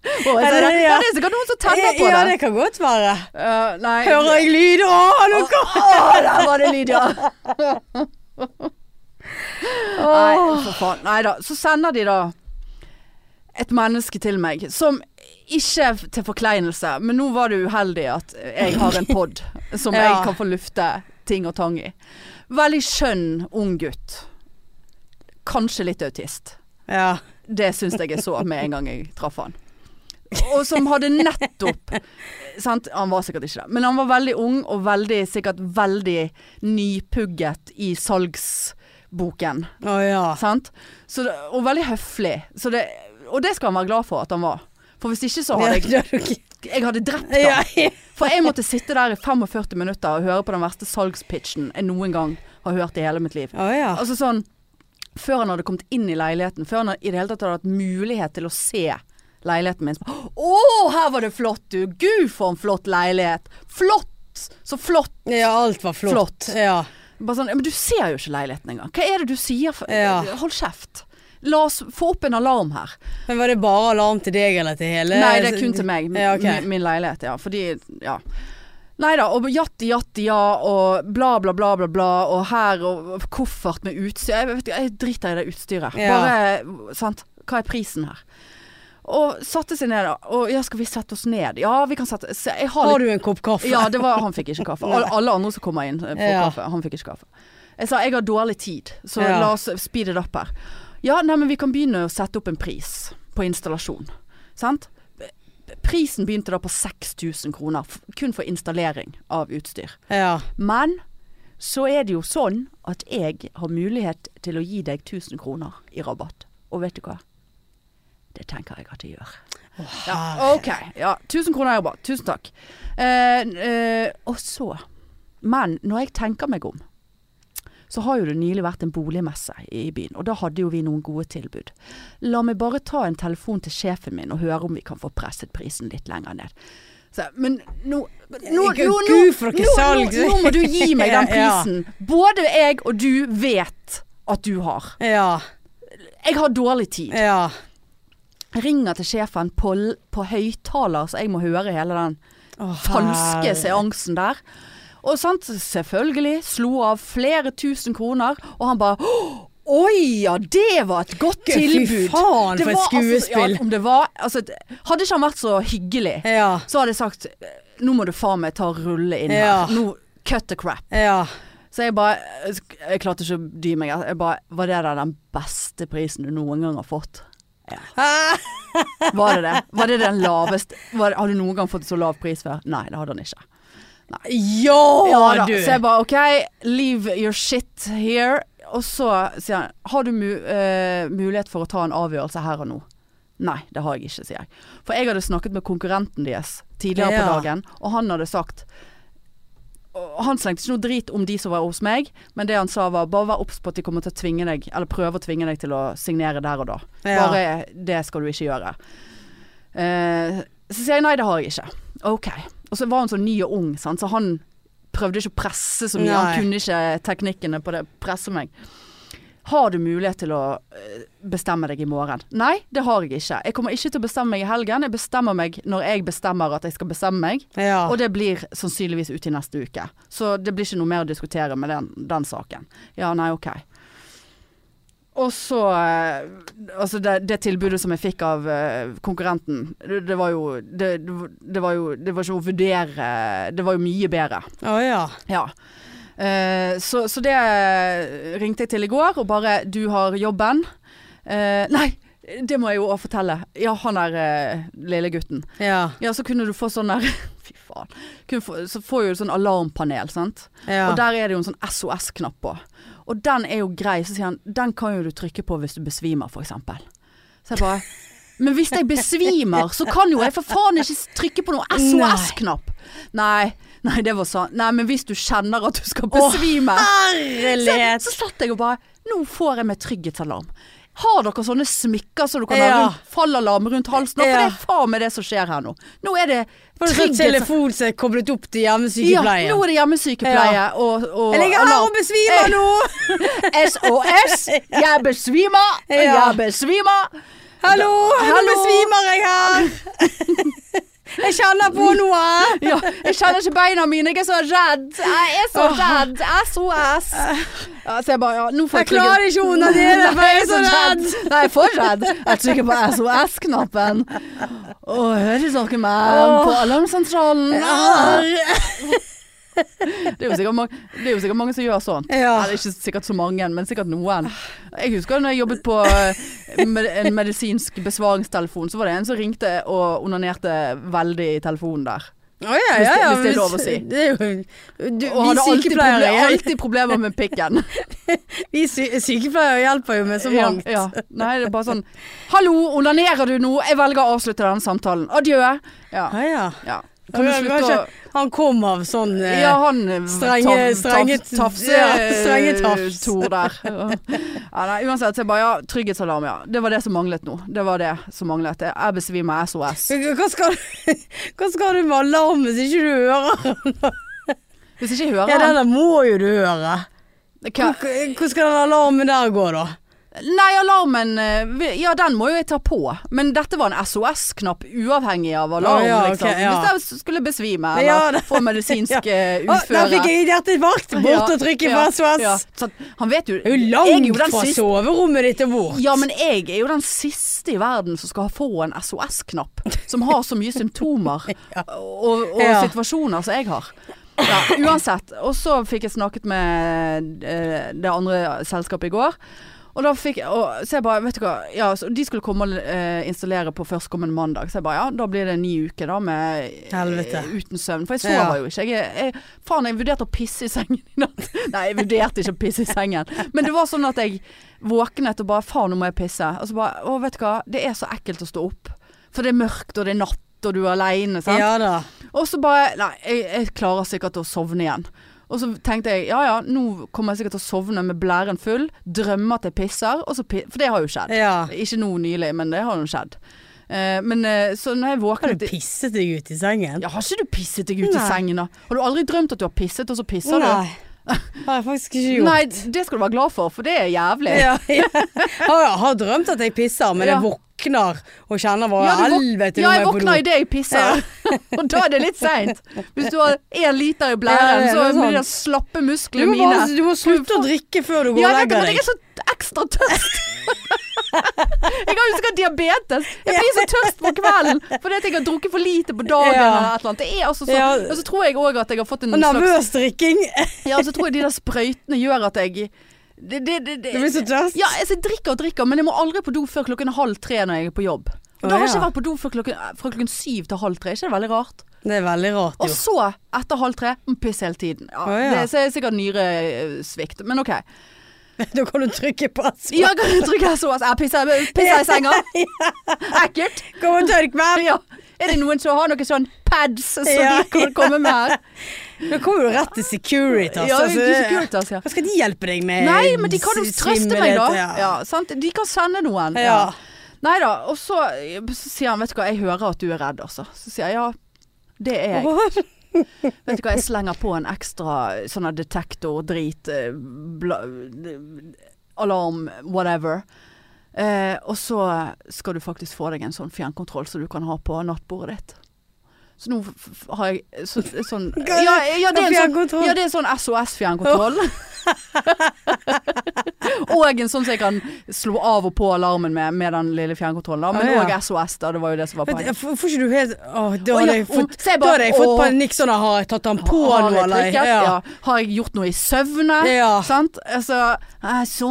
Speaker 2: jeg
Speaker 1: Ja,
Speaker 2: ser
Speaker 1: det-
Speaker 2: det,
Speaker 1: ja.
Speaker 2: ja, det er sikkert noen som tenner på
Speaker 1: Ja,
Speaker 2: det.
Speaker 1: det kan godt være.
Speaker 2: Eh, nei
Speaker 1: Hører jeg lyd? Å, nå
Speaker 2: Å, å, der var det lyd, ja. Nei, for faen. Nei da. Så sender de da et menneske til meg som ikke f- til forkleinelse, men nå var du uheldig at jeg har en pod som jeg
Speaker 1: Ja.
Speaker 2: kan få lufte ting og tang i. Veldig skjønn ung gutt. Kanskje litt autist.
Speaker 1: Ja.
Speaker 2: Det syns jeg jeg så med en gang jeg traff han. Og som hadde nettopp sant? Han var sikkert ikke det, men han var veldig ung og veldig, sikkert veldig nypugget i salgsboken.
Speaker 1: Å ja.
Speaker 2: Sant? Så det, og veldig høflig. Så det, og det skal han være glad for at han var. For hvis ikke så hadde jeg,
Speaker 1: Ja, det er
Speaker 2: *laughs*
Speaker 1: ok.
Speaker 2: jeg hadde drept
Speaker 1: Ja,
Speaker 2: ham. For jeg måtte sitte der i 45 minutter og høre på den verste salgspitchen jeg noen gang har hørt i hele mitt liv.
Speaker 1: Å ja.
Speaker 2: Altså sånn Før han hadde kommet inn i leiligheten, før han i det hele tatt hadde hatt mulighet til å se leiligheten min så bare, Å, her var det flott, du! Gud, for en flott leilighet! Flott! Så flott!
Speaker 1: Ja, alt var flott.
Speaker 2: Flott.
Speaker 1: Ja.
Speaker 2: Bare sånn, «Ja, Men du ser jo ikke leiligheten engang. Hva er det du sier? For?
Speaker 1: Ja.
Speaker 2: Hold kjeft. La oss få opp en alarm her.
Speaker 1: Men var det bare alarm til deg eller til hele
Speaker 2: Nei, det er kun til meg. Min,
Speaker 1: Ja, ok.
Speaker 2: min- min leilighet, ja. Fordi, ja. Nei da, og jatti, jatti, ja, og bla, bla, bla, bla, bla, og her, og koffert med utstyr. Jeg, vet, ikke, jeg driter i det utstyret.
Speaker 1: Ja.
Speaker 2: Bare, sant, hva er prisen her? Og satte seg ned da, og ja, skal vi sette oss ned? Ja, vi kan sette, se, jeg har litt
Speaker 1: Har du en kopp kaffe?
Speaker 2: ja, det var, han fikk ikke kaffe. Al- Alle andre som kommer inn eh, får
Speaker 1: Ja.
Speaker 2: kaffe. Han fikk ikke kaffe. Jeg sa jeg har dårlig tid, så
Speaker 1: Ja.
Speaker 2: la oss speed it up her. Ja, nei, men vi kan begynne å sette opp en pris på installasjon. Sant? Prisen begynte da på 6000 kroner, f- kun for installering av utstyr.
Speaker 1: Ja.
Speaker 2: Men så er det jo sånn at jeg har mulighet til å gi deg 1000 kroner i rabatt. Og vet du hva? Det tenker jeg at jeg gjør. Ja, ok. Ja, 1000 kroner er jo bra. Tusen takk. Eh, eh, og så Men når jeg tenker meg om, så har jo det nylig vært en boligmesse i byen, og da hadde jo vi noen gode tilbud. La meg bare ta en telefon til sjefen min og høre om vi kan få presset prisen litt lenger ned. Så, jeg, men nå nå, nå,
Speaker 1: Gud,
Speaker 2: nå, nå,
Speaker 1: Gud, for dere
Speaker 2: nå,
Speaker 1: salg.
Speaker 2: nå må du gi meg den
Speaker 1: *laughs* Ja.
Speaker 2: prisen. Både jeg og du vet at du har.
Speaker 1: Ja.
Speaker 2: Jeg har dårlig tid.
Speaker 1: Ja.
Speaker 2: Ringer til sjefen på, l- på høyttaler, så jeg må høre hele den
Speaker 1: Å,
Speaker 2: falske
Speaker 1: herre.
Speaker 2: seansen der. Og sant, selvfølgelig slo av flere tusen kroner, og han bare «Åh, Oi ja, det var et godt
Speaker 1: Fy
Speaker 2: tilbud!
Speaker 1: faen,
Speaker 2: Det
Speaker 1: for et
Speaker 2: var altså-
Speaker 1: skuespill.
Speaker 2: ja, om det var, altså, det- hadde ikke han vært så hyggelig,
Speaker 1: Ja.
Speaker 2: så hadde jeg sagt «Eh, Nå må du faen meg ta og rulle inn
Speaker 1: Ja.
Speaker 2: her. Nå, cut the crap.
Speaker 1: Ja.
Speaker 2: Så jeg bare eh, Jeg klarte ikke å dy meg. altså. Jeg bare Var det der den beste prisen du noen gang har fått?
Speaker 1: Ah,
Speaker 2: Var det det? Var det den laveste var, Har du noen gang fått så lav pris før? Nei, det hadde han ikke. Ja
Speaker 1: ja,
Speaker 2: da.
Speaker 1: du.
Speaker 2: Så jeg bare OK, leave your shit here. Og så sier han Har du mu eh, mulighet for å ta en avgjørelse her og nå? Nei, det har jeg ikke, sier jeg. For jeg hadde snakket med konkurrenten deres tidligere på
Speaker 1: Ja.
Speaker 2: dagen, og han hadde sagt og han slengte ikke noe drit om de som var hos meg, men det han sa var bare vær obs på at de kommer til å tvinge deg, eller prøve å tvinge deg til å signere der og da.
Speaker 1: Ja.
Speaker 2: Bare det skal du ikke gjøre. Eh, så sier jeg nei, det har jeg ikke. Ok. Og så var han så ny og ung, sant? så han prøvde ikke å presse så mye.
Speaker 1: Nei.
Speaker 2: Han kunne ikke teknikkene på det. Presse meg. Har du mulighet til å eh, bestemme deg i morgen? Nei, det har jeg ikke. Jeg kommer ikke til å bestemme meg i helgen. Jeg bestemmer meg når jeg bestemmer at jeg skal bestemme meg.
Speaker 1: ja.
Speaker 2: Og det blir sannsynligvis ute i neste uke. Så det blir ikke noe mer å diskutere med den, den saken. Ja, nei, ok. Og så eh, Altså, det, det tilbudet som jeg fikk av eh, konkurrenten, det, det var jo det, det var jo Det var ikke å vurdere Det var jo mye bedre.
Speaker 1: Å ja.
Speaker 2: Ja. Eh, så, så det eh, ringte jeg til i går, og bare 'du har jobben'. Eh, nei, det må jeg jo også fortelle. Ja, han der eh, lille gutten.
Speaker 1: Ja.
Speaker 2: Ja, så kunne du få sånn der *laughs* Fy faen. Kunne få, så får jo du sånn alarmpanel, sant.
Speaker 1: ja.
Speaker 2: Og der er det jo en sånn SOS-knapp på. Og den er jo grei, så sier han den kan jo du trykke på hvis du besvimer, for eksempel. Så jeg bare *laughs* Men hvis jeg besvimer, så kan jo jeg for faen ikke trykke på noen SOS-knapp. Nei. Nei, det var sånn. Nei, men hvis du kjenner at du skal besvime
Speaker 1: Herlighet.
Speaker 2: så satt jeg og bare Nå får jeg meg trygghetsalarm. Har dere sånne smykker som så du kan ha
Speaker 1: Ja.
Speaker 2: rundt, fallalarm rundt halsen? For det
Speaker 1: Ja.
Speaker 2: er faen meg det som skjer her nå. Nå er det
Speaker 1: Var det sånn
Speaker 2: trygghets-
Speaker 1: telefon som er koblet opp til
Speaker 2: Ja,
Speaker 1: hjemmesykepleien?
Speaker 2: nå er det hjemmesykepleie og, og
Speaker 1: jeg ligger her og
Speaker 2: *laughs*
Speaker 1: Eh,
Speaker 2: alarm.
Speaker 1: besvimer nå! *laughs*
Speaker 2: SOS! Jeg besvimer!
Speaker 1: Ja.
Speaker 2: Jeg besvimer!
Speaker 1: Hallo, nå
Speaker 2: Hallo.
Speaker 1: besvimer jeg *laughs* her! Jeg kjenner på noe!
Speaker 2: Ja, jeg kjenner ikke beina mine, jeg er så redd. Jeg er så redd. SOS. Ja, så jeg bare ja, nå får
Speaker 1: Jeg klarer ikke å onanere, for jeg er så redd.
Speaker 2: Nei, jeg er for redd. Jeg trykker på SOS-knappen. Å, hører dere meg
Speaker 1: Åh.
Speaker 2: på alarmsentralen? Ah,
Speaker 1: Arr.
Speaker 2: Det er jo sikkert mange, det er jo sikkert mange som gjør sånn.
Speaker 1: Ja.
Speaker 2: Eller ikke sikkert så mange, men sikkert noen. Jeg husker da jeg jobbet på eh, med, en medisinsk besvaringstelefon, så var det en som ringte og onanerte veldig i telefonen der.
Speaker 1: Å ja,
Speaker 2: Hvis
Speaker 1: ja,
Speaker 2: det-
Speaker 1: ja.
Speaker 2: hvis det er
Speaker 1: hvis-
Speaker 2: lov å si.
Speaker 1: Det er jo du,
Speaker 2: Og
Speaker 1: Vi
Speaker 2: hadde alltid,
Speaker 1: sykepleiere,
Speaker 2: proble alltid problemer med pikken.
Speaker 1: *laughs* vi sy sykepleiere hjelper jo med så
Speaker 2: *laughs* Ja,
Speaker 1: mangt.
Speaker 2: ja. Nei, det er bare sånn Hallo, onanerer du nå? Jeg velger å avslutte denne samtalen. Adjø. Ja.
Speaker 1: Å ja.
Speaker 2: ja. Kan du
Speaker 1: Kan
Speaker 2: slutte å
Speaker 1: ikke, han kom av sånn eh,
Speaker 2: Ja, han eh,
Speaker 1: strenge-
Speaker 2: taf-
Speaker 1: strenge-
Speaker 2: taf- tafse
Speaker 1: ja, strenge tafs.
Speaker 2: Tor
Speaker 1: *laughs*
Speaker 2: der. Ja, nei, uansett, så jeg bare ja, trygghetsalarm, ja. Det var det som manglet nå. Det var det som manglet. Jeg besvimer SOS.
Speaker 1: hva skal, *laughs* hva skal du med alarmen hvis ikke du hører?
Speaker 2: Hvis ikke jeg hører
Speaker 1: Ja, den
Speaker 2: han
Speaker 1: der må jo du høre.
Speaker 2: Hva-
Speaker 1: Hvor, hvor skal den alarmen der gå, da?
Speaker 2: Nei, alarmen eh, vi- Ja, den må jo jeg ta på. Men dette var en SOS-knapp uavhengig av alarm.
Speaker 1: Å, ja,
Speaker 2: liksom.
Speaker 1: ok, ja.
Speaker 2: Hvis jeg skulle besvime eller
Speaker 1: *laughs* Ja, det-
Speaker 2: få medisinsk eh,
Speaker 1: Å,
Speaker 2: uføre.
Speaker 1: der fikk jeg hjerteinfarkt! Bort og trykke på SOS.
Speaker 2: Så at han vet jo
Speaker 1: Det er jo
Speaker 2: jeg jo
Speaker 1: langt
Speaker 2: den
Speaker 1: fra
Speaker 2: siste-
Speaker 1: soverommet ditt og bort.
Speaker 2: Ja, men jeg er jo den siste i verden som skal få en SOS-knapp. Som har så mye symptomer
Speaker 1: *laughs*
Speaker 2: og, og
Speaker 1: Ja.
Speaker 2: situasjoner som jeg har. Ja, uansett. Og så fikk jeg snakket med eh, det andre selskapet i går. Og da fikk og, Så jeg bare, vet du hva ja, så De skulle komme og eh, installere på førstkommende mandag. Så jeg bare ja, da blir det en ny uke da med eh,
Speaker 1: Helvete.
Speaker 2: uten søvn. For jeg sover
Speaker 1: Ja.
Speaker 2: jo ikke. Jeg, jeg, faen, jeg vurderte å pisse i sengen i natt. *laughs* Nei, jeg vurderte ikke å pisse i sengen. Men det var sånn at jeg våknet og bare Faen, nå må jeg pisse. Og så bare Å, vet du hva. Det er så ekkelt å stå opp. For det er mørkt, og det er natt, og du er aleine, sant.
Speaker 1: Ja da.
Speaker 2: Og så bare Nei, jeg, jeg klarer sikkert å sovne igjen. Og så tenkte jeg ja ja, nå kommer jeg sikkert til å sovne med blæren full, drømme at jeg pisser, og så pi for det har jo skjedd.
Speaker 1: Ja.
Speaker 2: Ikke nå nylig, men det har jo skjedd. Eh, men eh, så når jeg våker
Speaker 1: Kan du
Speaker 2: litt
Speaker 1: pisse deg ut i sengen?
Speaker 2: ja, Har ikke du pisset deg ut i
Speaker 1: Nei.
Speaker 2: sengen, da? Har du aldri drømt at du har pisset, og så pisser
Speaker 1: Nei.
Speaker 2: *laughs*
Speaker 1: Har jeg faktisk ikke
Speaker 2: du?
Speaker 1: gjort.
Speaker 2: sånn Nei, det skal du være glad for, for det er jævlig.
Speaker 1: *laughs* Ja, ja. Har, har drømt at jeg pisser, men
Speaker 2: Ja.
Speaker 1: jeg våkner og kjenner hva
Speaker 2: Ja, du våk-
Speaker 1: helvete
Speaker 2: ja, jeg
Speaker 1: nå må
Speaker 2: våkner
Speaker 1: jeg på do.
Speaker 2: idet jeg pisser, *laughs* og da er det litt seint. Hvis du har én liter i
Speaker 1: Ja,
Speaker 2: blæren,
Speaker 1: det er
Speaker 2: så
Speaker 1: sant.
Speaker 2: blir de slappe
Speaker 1: Du
Speaker 2: musklene
Speaker 1: må, bare,
Speaker 2: mine.
Speaker 1: du må slutte å drikke før du går
Speaker 2: Ja,
Speaker 1: og
Speaker 2: jeg vet
Speaker 1: legger
Speaker 2: det, men jeg
Speaker 1: deg.
Speaker 2: er så ekstra
Speaker 1: *laughs*
Speaker 2: tørst. Jeg har jo sikkert diabetes. Jeg blir så tørst på kvelden fordi at jeg har drukket for lite på dagen
Speaker 1: Ja.
Speaker 2: eller et eller annet. Det er altså så,
Speaker 1: Ja.
Speaker 2: Og så tror jeg òg at jeg har fått en
Speaker 1: Og
Speaker 2: slags
Speaker 1: nervøs drikking. *laughs*
Speaker 2: Ja, og så tror jeg de der sprøytene gjør at jeg det, det, det, det,
Speaker 1: Du blir så tørst.
Speaker 2: Ja, altså, jeg drikker og drikker, men jeg må aldri på do før klokken halv tre når jeg er på jobb. Og
Speaker 1: Å,
Speaker 2: da har jeg
Speaker 1: ja.
Speaker 2: ikke vært på do før klokken, eh, fra klokken syv til halv tre. Er ikke det veldig rart?
Speaker 1: Det er veldig rart,
Speaker 2: Og
Speaker 1: jo.
Speaker 2: så, etter halv tre, må jeg pisse hele tiden. Ja,
Speaker 1: Å, ja.
Speaker 2: Det så er det sikkert nyresvikt, men OK.
Speaker 1: Da kan *laughs* du trykke på et svar.
Speaker 2: Ja, Jeg trykker SOS. Jeg pisser, pisser i
Speaker 1: *laughs*
Speaker 2: senga. Ekkelt.
Speaker 1: Kom og tørk meg!
Speaker 2: Ja. Er det noen som har noen sånn pads som
Speaker 1: Ja.
Speaker 2: de kan komme med
Speaker 1: *laughs*
Speaker 2: her?
Speaker 1: Nå kommer du rett til Securitas.
Speaker 2: Ja,
Speaker 1: altså.
Speaker 2: det er Securitas, ja.
Speaker 1: Hva skal de hjelpe deg med?
Speaker 2: Nei, men de kan jo trøste meg, da.
Speaker 1: Svimmelhet,
Speaker 2: Ja. sant? De kan sende noen.
Speaker 1: Ja.
Speaker 2: Nei da. Og så, så sier han 'vet du hva, jeg hører at du er redd', altså. Så sier jeg ja, det er jeg.
Speaker 1: Åh,
Speaker 2: Vet du hva, jeg slenger på en ekstra sånn her detektor, drit, eh, bla, eh, alarm, whatever. Eh, og så skal du faktisk få deg en sånn fjernkontroll som du kan ha på nattbordet ditt. Så nå f f har jeg så, sånn ja, ja, det er en sånn,
Speaker 1: Fjernkontroll.
Speaker 2: ja, det er sånn
Speaker 1: *laughs*
Speaker 2: SOS-fjernkontroll. og en sånn som jeg kan slå av og på alarmen med, med den lille fjernkontrollen. da. Men
Speaker 1: Å, ja.
Speaker 2: òg SOS, da. Det var jo det som var
Speaker 1: Vet du,
Speaker 2: poenget.
Speaker 1: jeg får får ikke du helt Åh, da
Speaker 2: sånn- Å, ja,
Speaker 1: hadde jeg
Speaker 2: om-
Speaker 1: fått,
Speaker 2: så jeg
Speaker 1: da
Speaker 2: bare,
Speaker 1: hadde jeg fått
Speaker 2: å.
Speaker 1: panikk sånn Har jeg tatt han på
Speaker 2: Har
Speaker 1: nå,
Speaker 2: jeg
Speaker 1: eller?
Speaker 2: trykket? Ja. Har jeg gjort noe i søvne?
Speaker 1: Ja.
Speaker 2: Sant? Altså, jeg så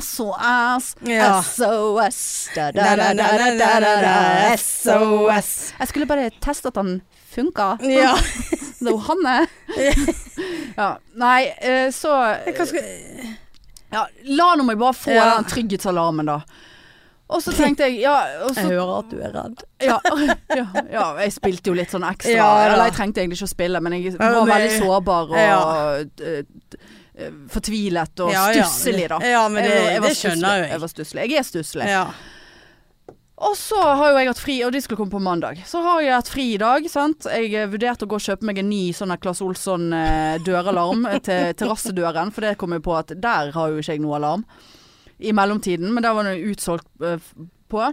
Speaker 2: SOS,
Speaker 1: Ja.
Speaker 2: SOS da, da, da, da, da, da, da, da, SOS.
Speaker 1: SOS.
Speaker 2: Jeg skulle bare teste at den funka.
Speaker 1: Ja.
Speaker 2: *laughs* Det er jo Hanne. *laughs* ja. Nei, eh, så
Speaker 1: Hva skal
Speaker 2: ja, La nå meg bare få
Speaker 1: Ja.
Speaker 2: den trygghetsalarmen, da. Og så tenkte jeg ja,
Speaker 1: *laughs*
Speaker 2: og så,
Speaker 1: hører at du er redd.
Speaker 2: ja, *laughs* ja, ja, jeg spilte jo litt sånn ekstra.
Speaker 1: Ja, da.
Speaker 2: Eller jeg trengte egentlig ikke å spille, men
Speaker 1: Ja,
Speaker 2: jeg var
Speaker 1: men-
Speaker 2: veldig sårbar og
Speaker 1: Ja.
Speaker 2: eh, eh, fortvilet og stusselig, da.
Speaker 1: Ja, men det,
Speaker 2: Jeg var- jeg var
Speaker 1: det skjønner
Speaker 2: stusslig.
Speaker 1: jo
Speaker 2: Jeg
Speaker 1: jeg.
Speaker 2: var stusslig. Jeg er stusslig.
Speaker 1: Ja. *laughs*
Speaker 2: Og så har jo jeg hatt fri, og de skulle komme på mandag. Så har jeg hatt fri i dag, sant. Jeg eh, vurderte å gå og kjøpe meg en ny sånn her Claes Olsson eh, døralarm til terrassedøren, for det kom jeg på at der har jo ikke jeg noe alarm. I mellomtiden, men der var den jo utsolgt eh, på.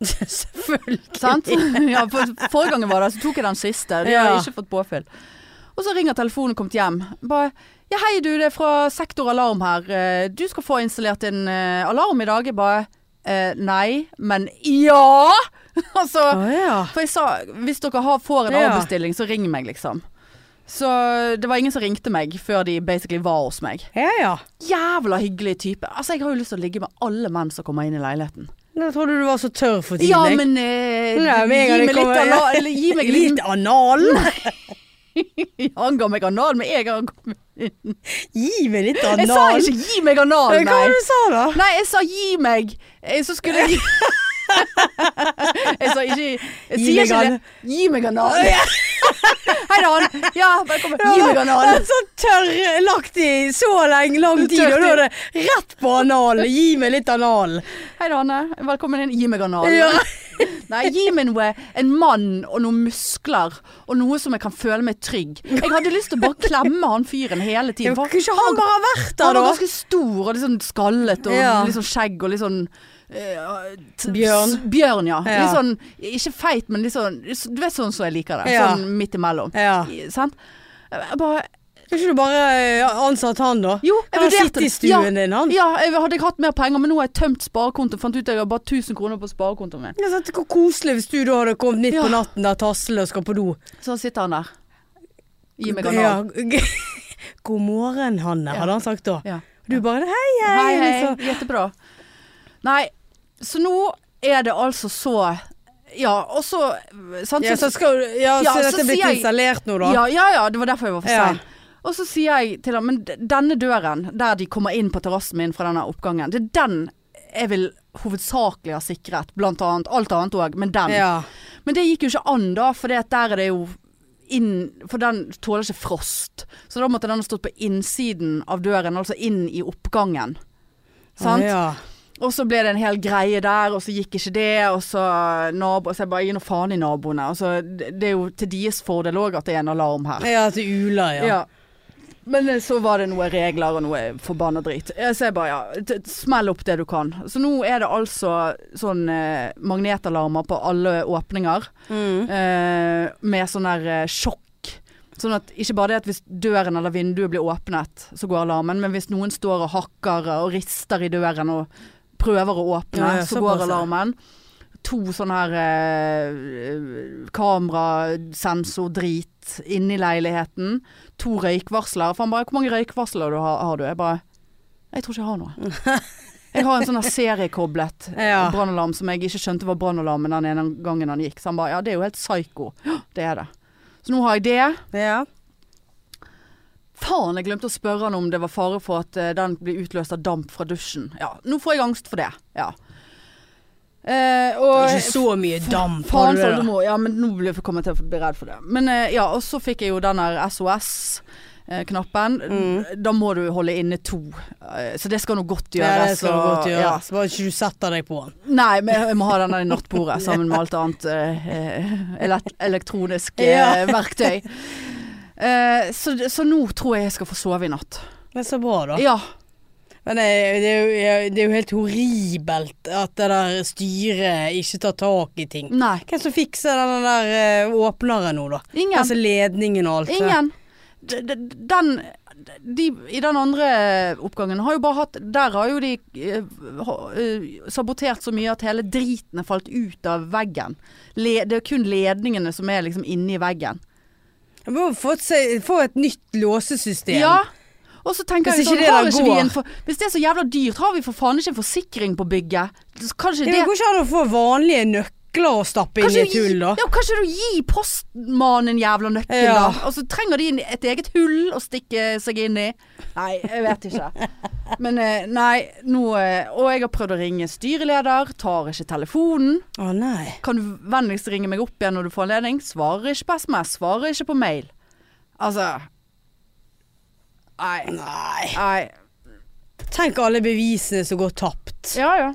Speaker 1: Selvfølgelig.
Speaker 2: *laughs* Sant? Ja, for, forrige gangen var det, så tok jeg den siste. De har
Speaker 1: Ja.
Speaker 2: ikke fått påfyll. Og så ringer telefonen kommet hjem. Bare Ja, hei du, det er fra Sektor Alarm her. Eh, Du skal få installert en eh, alarm i dag. Jeg bare eh, Nei, men ja! *laughs* altså
Speaker 1: Å ja.
Speaker 2: For jeg sa hvis dere har, får en
Speaker 1: Ja.
Speaker 2: avbestilling, så ring meg, liksom. Så det var ingen som ringte meg før de basically var hos meg.
Speaker 1: Ja ja.
Speaker 2: Jævla hyggelig type. Altså, jeg har jo lyst til å ligge med alle menn som kommer inn i leiligheten.
Speaker 1: Nå trodde du var så tørr for tiden.
Speaker 2: Ja,
Speaker 1: jeg.
Speaker 2: men eh,
Speaker 1: Nei, men en gang det
Speaker 2: gi, meg litt,
Speaker 1: kommer-
Speaker 2: ala- eller, gi meg litt
Speaker 1: Litt anal.
Speaker 2: Han ga meg anal med en gang.
Speaker 1: Gi meg litt anal.
Speaker 2: Jeg sa ikke 'gi meg anal',
Speaker 1: Hva var
Speaker 2: nei.
Speaker 1: det du sa da?
Speaker 2: Nei, jeg sa 'gi meg'. Eh, Så skulle *laughs* jeg Jeg sa ikke Jeg
Speaker 1: Gi
Speaker 2: sier
Speaker 1: meg
Speaker 2: ikke det.
Speaker 1: anal.
Speaker 2: Gi meg anal. Hei da, han. Ja, velkommen. Gi meg
Speaker 1: Det
Speaker 2: anal.
Speaker 1: er Sånn tørr lagt i så lenge, lang tid,
Speaker 2: Tørt
Speaker 1: og
Speaker 2: i.
Speaker 1: nå er det rett på anal. Gi meg litt
Speaker 2: *laughs*
Speaker 1: anal.
Speaker 2: *laughs* Hei da, Hanne. Velkommen inn. Gi meg anal.
Speaker 1: Ja.
Speaker 2: *laughs* Nei, gi meg noe, en mann og noen muskler og noe som jeg kan føle meg trygg. Jeg hadde lyst til å bare klemme han fyren hele
Speaker 1: Jeg
Speaker 2: tiden.
Speaker 1: kan
Speaker 2: for
Speaker 1: ikke han bare ha vært
Speaker 2: Han
Speaker 1: der,
Speaker 2: var
Speaker 1: da?
Speaker 2: ganske stor og litt sånn skallet og
Speaker 1: Ja.
Speaker 2: litt sånn skjegg og litt sånn eh, t-
Speaker 1: Bjørn.
Speaker 2: s- Bjørn, ja.
Speaker 1: Ja.
Speaker 2: Litt sånn, ikke feit, men litt sånn Du vet sånn som jeg liker det.
Speaker 1: Ja.
Speaker 2: Sånn midt imellom.
Speaker 1: Ja.
Speaker 2: I- Sant? Jeg bare
Speaker 1: Kan ikke du bare eh, ansatt han, da?
Speaker 2: Jo, jeg
Speaker 1: Han har
Speaker 2: vurderte
Speaker 1: sittet i
Speaker 2: Ja,
Speaker 1: stuen din, han.
Speaker 2: ja, jeg hadde jeg hatt mer penger, men nå har jeg tømt sparekontoen. Fant ut at jeg har bare 1000 kroner på sparekontoen min.
Speaker 1: Ja, sant, Hvor koselig hvis du da hadde kommet midt
Speaker 2: Ja.
Speaker 1: på natten der tassel og skal på do.
Speaker 2: Så sitter han der. Gi meg
Speaker 1: Ja.
Speaker 2: anal.
Speaker 1: *laughs* God morgen, Hanne,
Speaker 2: Ja.
Speaker 1: hadde han sagt da.
Speaker 2: Ja.
Speaker 1: Du bare hei, hei.
Speaker 2: Hei, hei.
Speaker 1: liksom.
Speaker 2: Jettebra. Nei, så nå er det altså så Ja, og så sant,
Speaker 1: Ja, så skal, ja,
Speaker 2: Ja,
Speaker 1: så
Speaker 2: så
Speaker 1: dette er
Speaker 2: sier
Speaker 1: blitt
Speaker 2: jeg-
Speaker 1: installert nå, da.
Speaker 2: Ja, ja, ja, det var derfor jeg var for
Speaker 1: Ja.
Speaker 2: sein. Og så sier jeg til ham, men d- denne døren, der de kommer inn på terrassen min fra denne oppgangen, det er den jeg vil hovedsakelig ha sikret, blant annet. Alt annet òg, men den.
Speaker 1: Ja.
Speaker 2: Men det gikk jo ikke an da, for der er det jo inn For den tåler ikke frost. Så da måtte den ha stått på innsiden av døren, altså inn i oppgangen. Sant?
Speaker 1: Ja.
Speaker 2: Og så ble det en hel greie der, og så gikk ikke det, og så nabo, Så jeg bare gir nå faen i naboene. Altså, det det er jo til deres fordel òg at det er en alarm her.
Speaker 1: ja, til Ula, ja.
Speaker 2: Ja. Men eh, så var det noen regler og noe forbanna drit. Eh, Så jeg bare ja, t- smell opp det du kan. Så nå er det altså sånn eh, magnetalarmer på alle åpninger.
Speaker 1: Mm.
Speaker 2: Eh, med sånn der eh, sjokk. Sånn at ikke bare det at hvis døren eller vinduet blir åpnet, så går alarmen, men hvis noen står og hakker og rister i døren og prøver å åpne,
Speaker 1: Ja, ja,
Speaker 2: så
Speaker 1: såpass,
Speaker 2: går
Speaker 1: ja.
Speaker 2: alarmen. To sånne her eh, kamerasensordrit inni leiligheten. To røykvarsler. For han bare 'Hvor mange røykvarsler du har, har du?' Jeg bare 'Jeg tror ikke jeg har noe'.
Speaker 1: *laughs*
Speaker 2: Jeg har en sånn her seriekoblet
Speaker 1: Ja.
Speaker 2: brannalarm som jeg ikke skjønte var brannalarmen den ene gangen han gikk. Så han bare 'Ja, det er jo helt psyko'. «Hå, Det er det. Så nå har jeg det.
Speaker 1: ja.
Speaker 2: Faen, jeg glemte å spørre han om det var fare for at eh, den blir utløst av damp fra dusjen. Ja, nå får jeg angst for det. Ja. Eh,
Speaker 1: Det
Speaker 2: og
Speaker 1: er ikke så mye damp. har
Speaker 2: faen
Speaker 1: du det da?
Speaker 2: Foldermo. Ja, men nå blir jeg kommet til å bli redd for det. Men eh, ja, og så fikk jeg jo den der SOS-knappen. eh, Da må du holde inne to. Eh, Så det skal nå godt gjøres.
Speaker 1: Mm. Ja, det skal du
Speaker 2: og-
Speaker 1: godt
Speaker 2: ja.
Speaker 1: gjøres. Bare ikke du setter deg på den.
Speaker 2: Nei, men jeg må ha den der i nattbordet sammen med alt annet eh, eh, elekt- elektronisk eh,
Speaker 1: Ja.
Speaker 2: verktøy. Eh, så, så nå tror jeg jeg skal få sove i natt.
Speaker 1: Det er så bra, da.
Speaker 2: Ja.
Speaker 1: Men det, det, er jo, det er jo helt horribelt at det der styret ikke tar tak i ting.
Speaker 2: Nei.
Speaker 1: Hvem som fikser den der eh, åpneren nå, da?
Speaker 2: Ingen.
Speaker 1: Altså ledningen og alt. det.
Speaker 2: Ingen. D- d- Den de, I den andre oppgangen har jo bare hatt Der har jo de eh, ha- eh, sabotert så mye at hele driten er falt ut av veggen. Le, det er kun ledningene som er liksom inni veggen.
Speaker 1: Jeg må få, et se- få et nytt låsesystem.
Speaker 2: Ja. Og så tenker
Speaker 1: Hvis
Speaker 2: jeg sånn,
Speaker 1: ikke det
Speaker 2: har
Speaker 1: da
Speaker 2: ikke vi
Speaker 1: går.
Speaker 2: en for, Hvis det er så jævla dyrt, har vi for faen ikke en forsikring på bygget? Så Kanskje
Speaker 1: Det
Speaker 2: det
Speaker 1: går ikke an å få vanlige nøkler å stappe inn i
Speaker 2: Kanskje
Speaker 1: et hull, da.
Speaker 2: Ja, kanskje du gir postmannen en jævla nøkkel,
Speaker 1: Ja.
Speaker 2: da. Og så trenger de en- et eget hull å stikke seg inn i. Nei, jeg vet ikke. *laughs* Men eh, nei, nå eh, Og jeg har prøvd å ringe styreleder, tar ikke telefonen.
Speaker 1: Å nei.
Speaker 2: Kan du vennligst ringe meg opp igjen når du får anledning? Svarer ikke på SMS, svarer ikke på mail. Altså Nei.
Speaker 1: Nei.
Speaker 2: nei.
Speaker 1: Tenk alle bevisene som går tapt.
Speaker 2: Ja ja.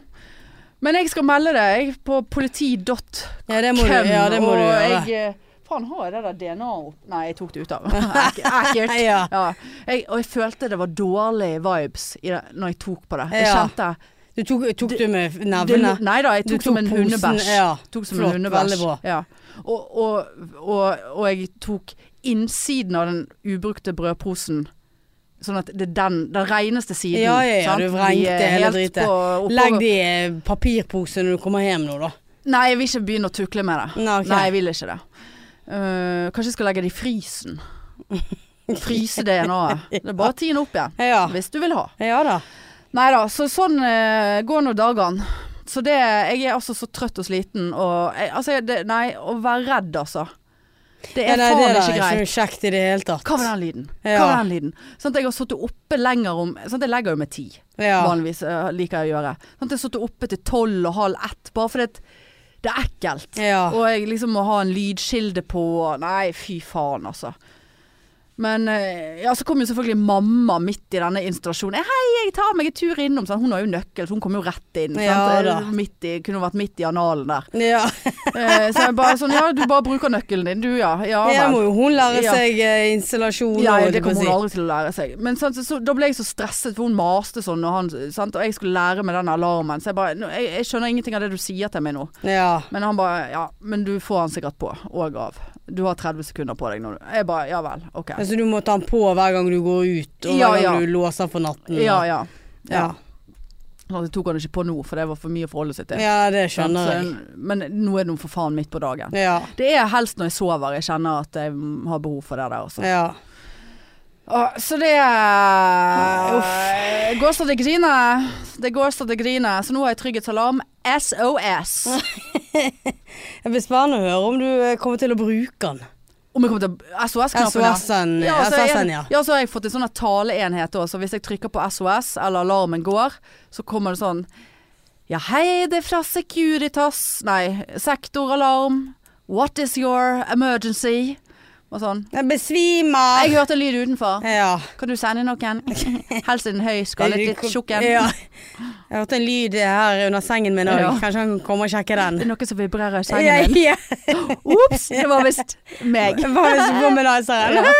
Speaker 2: Men jeg skal melde det, jeg, på politi.no.
Speaker 1: Ja, det må du,
Speaker 2: Hvem,
Speaker 1: ja, det må
Speaker 2: og
Speaker 1: du gjøre.
Speaker 2: Jeg, eh, faen, har jeg det der DNA-et opp? Nei, jeg tok
Speaker 1: *laughs*
Speaker 2: det ut av. Ek- Ekkelt.
Speaker 1: Ja.
Speaker 2: Jeg, og jeg følte det var dårlige vibes i det, når jeg tok på det. Jeg
Speaker 1: Ja.
Speaker 2: kjente
Speaker 1: Du tok, tok du med nevene?
Speaker 2: det, Nei da, jeg
Speaker 1: Du
Speaker 2: tok, som en
Speaker 1: posen,
Speaker 2: hundebæsj.
Speaker 1: Ja.
Speaker 2: Tok som
Speaker 1: Flott,
Speaker 2: en hundebæsj.
Speaker 1: veldig bra.
Speaker 2: Ja. Og, og, og, og jeg tok innsiden av den ubrukte brødposen. Sånn at det er den, den reneste siden.
Speaker 1: Ja, ja, ja,
Speaker 2: sant?
Speaker 1: du vrengte
Speaker 2: Vi er
Speaker 1: hele
Speaker 2: helt
Speaker 1: dritet.
Speaker 2: på- oppover-
Speaker 1: Legg det i eh, papirpose når du kommer hjem nå, da.
Speaker 2: Nei, jeg vil ikke begynne å tukle med det.
Speaker 1: Nei, ok.
Speaker 2: Nei, jeg vil ikke det. Eh, kanskje jeg skal legge det
Speaker 1: *laughs*
Speaker 2: i frysen. Fryse DNA-et. Det er bare å tine opp igjen.
Speaker 1: Ja.
Speaker 2: Hvis du vil ha.
Speaker 1: ja da.
Speaker 2: Nei da, så sånn eh, går nå dagene. Så det Jeg er altså så trøtt og sliten og jeg, Altså, jeg- det, nei, å være redd, altså. Det
Speaker 1: Ja,
Speaker 2: er
Speaker 1: nei,
Speaker 2: faen
Speaker 1: det der
Speaker 2: ikke
Speaker 1: er
Speaker 2: greit.
Speaker 1: ikke kjekt i det hele tatt.
Speaker 2: Hva var den lyden? Hva
Speaker 1: Ja.
Speaker 2: var den lyden? Sånn at jeg har sittet oppe lenger om Sånn at jeg legger jo med ti
Speaker 1: Ja.
Speaker 2: vanligvis eh, liker jeg å gjøre. Sånn at jeg har sittet oppe til tolv og halv ett, bare fordi at det er ekkelt.
Speaker 1: Ja.
Speaker 2: Og jeg liksom må ha en lydkilde på Nei, fy faen, altså. Men eh, ja, så kom jo selvfølgelig mamma midt i denne installasjonen. Jeg, Hei, jeg tar meg en tur innom. Sånn. Hun har jo nøkkel, så hun kom jo rett inn.
Speaker 1: Ja,
Speaker 2: sant? Eh,
Speaker 1: da.
Speaker 2: Midt i, kunne vært midt i analen der.
Speaker 1: ja.
Speaker 2: Eh, så jeg bare sånn Ja, du bare bruker nøkkelen din, du, ja. Ja,
Speaker 1: *laughs* Jeg
Speaker 2: vel.
Speaker 1: må jo hun lære
Speaker 2: Ja.
Speaker 1: seg eh, installasjon.
Speaker 2: Ja,
Speaker 1: og-
Speaker 2: det
Speaker 1: på å
Speaker 2: kommer hun
Speaker 1: si.
Speaker 2: aldri til å lære seg. Men sant, så, da ble jeg så stresset, for hun maste sånn, og, han, sant, og jeg skulle lære med den alarmen. Så jeg bare nå, jeg, jeg skjønner ingenting av det du sier til meg nå.
Speaker 1: Ja.
Speaker 2: Men han bare Ja, men du får han sikkert på. Og av. Du har 30 sekunder på deg nå. Jeg bare Ja vel. OK.
Speaker 1: Altså du må ta den på hver gang du går ut, og
Speaker 2: Ja,
Speaker 1: hver gang
Speaker 2: ja.
Speaker 1: du låser for natten.
Speaker 2: Ja, ja.
Speaker 1: ja.
Speaker 2: Og så tok han ikke på nå, for det var for mye å forholde seg til.
Speaker 1: Ja, det
Speaker 2: Sant,
Speaker 1: skjønner jeg.
Speaker 2: så- Men nå er det nå for faen midt på dagen.
Speaker 1: Ja.
Speaker 2: Det er helst når jeg sover jeg kjenner at jeg mm, har behov for det der også.
Speaker 1: ja.
Speaker 2: Å, så det Uff. Går så det griner. Det går så det griner. Så nå har jeg trygghetsalarm. SOS.
Speaker 1: Det blir spennende å høre om du eh, kommer til å bruke den.
Speaker 2: Om jeg kommer til SOS-knappen,
Speaker 1: SOS-en, ja.
Speaker 2: og så er-
Speaker 1: SOS-en, ja.
Speaker 2: ja, så har altså, jeg fått en sånn her taleenhet òg, så hvis jeg trykker på SOS eller alarmen går, så kommer det sånn Ja, hei, det er fra Securitas Nei, sektoralarm. What is your emergency? og sånn.
Speaker 1: Jeg besvimer.
Speaker 2: Jeg hørte lyd utenfor.
Speaker 1: Ja.
Speaker 2: Kan du sende
Speaker 1: *laughs*
Speaker 2: noen? Helst en høy skallet litt tjukk en.
Speaker 1: Ja. Jeg hørte en lyd her under sengen min òg.
Speaker 2: Ja.
Speaker 1: Kanskje han kan komme og sjekke den.
Speaker 2: Det er noe som vibrerer
Speaker 1: Ja,
Speaker 2: i sengen din.
Speaker 1: ja.
Speaker 2: Ops, det var visst meg.
Speaker 1: *laughs* Hva hvis womanizeren?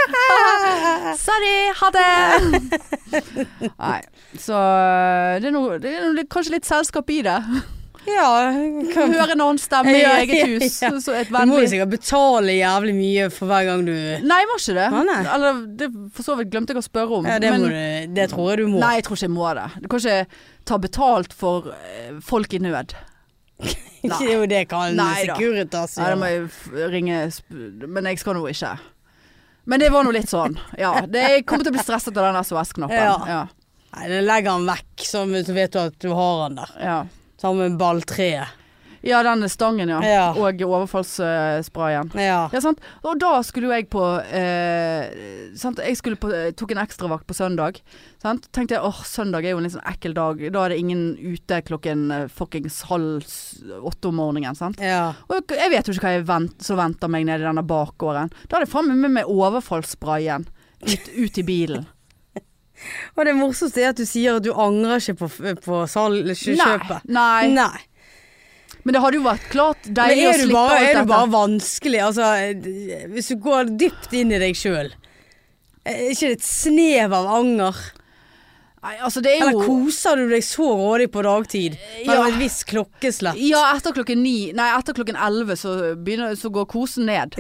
Speaker 2: Sorry, ha det! Nei, så eh, det er, noe, det er noe, kanskje litt selskap i det.
Speaker 1: Ja. kan-
Speaker 2: Høre en annen stemme i
Speaker 1: Ja,
Speaker 2: eget hus.
Speaker 1: ja, ja.
Speaker 2: Så et
Speaker 1: Du må jo
Speaker 2: vennlig
Speaker 1: sikkert betale jævlig mye for hver gang du
Speaker 2: Nei, jeg må ikke det.
Speaker 1: Å, nei.
Speaker 2: Eller det for så vidt glemte jeg å spørre om.
Speaker 1: Ja, det,
Speaker 2: men-
Speaker 1: må du, det tror jeg du må.
Speaker 2: Nei, jeg tror ikke jeg må det. Du kan ikke ta betalt for eh, folk i nød. nei.
Speaker 1: jo, det kan altså.
Speaker 2: Nei da.
Speaker 1: Securitas
Speaker 2: Nei, da må
Speaker 1: gjøre.
Speaker 2: jeg f- ringe sp- Men jeg skal nå ikke. Men det var nå litt sånn. Ja. Det, jeg kommer til å bli stresset av den SOS-knappen.
Speaker 1: Ja.
Speaker 2: Ja.
Speaker 1: Nei, det legger han vekk, så vet du at du har han der.
Speaker 2: Ja.
Speaker 1: Sammen med balltreet.
Speaker 2: ja, den stangen, ja.
Speaker 1: Ja.
Speaker 2: Og overfallssprayen.
Speaker 1: Ja.
Speaker 2: Ja, sant? Og da skulle jo jeg på eh, sant? Jeg skulle på, tok en ekstravakt på søndag. Sant? Tenkte jeg åh, søndag er jo en litt sånn ekkel dag. Da er det ingen ute klokken eh, fuckings halv s- åtte om morgenen. Sant?
Speaker 1: ja.
Speaker 2: Og jeg vet jo ikke hva jeg vent, som venter meg nede i denne bakgården. Da hadde jeg faen meg med meg overfallssprayen ut, ut i bilen.
Speaker 1: Og det morsomste er at du sier at du angrer ikke på, f- på salg, *laughs* ikke kjøpet.
Speaker 2: Nei. Nei.
Speaker 1: Nei.
Speaker 2: Men det hadde jo vært klart
Speaker 1: Men
Speaker 2: deilig å
Speaker 1: er du,
Speaker 2: slippe
Speaker 1: bare,
Speaker 2: alt
Speaker 1: er du
Speaker 2: dette.
Speaker 1: bare vanskelig? Altså, d- hvis du går dypt inn i deg sjøl, er ikke det et snev av anger?
Speaker 2: Nei, altså det er
Speaker 1: Eller
Speaker 2: jo Eh,
Speaker 1: koser du deg så rådig på dagtid
Speaker 2: Ja.
Speaker 1: mellom et visst klokkeslett?
Speaker 2: Ja, etter klokken ni Nei, etter klokken elleve så, begynner- så går kosen
Speaker 1: *laughs*
Speaker 2: ned.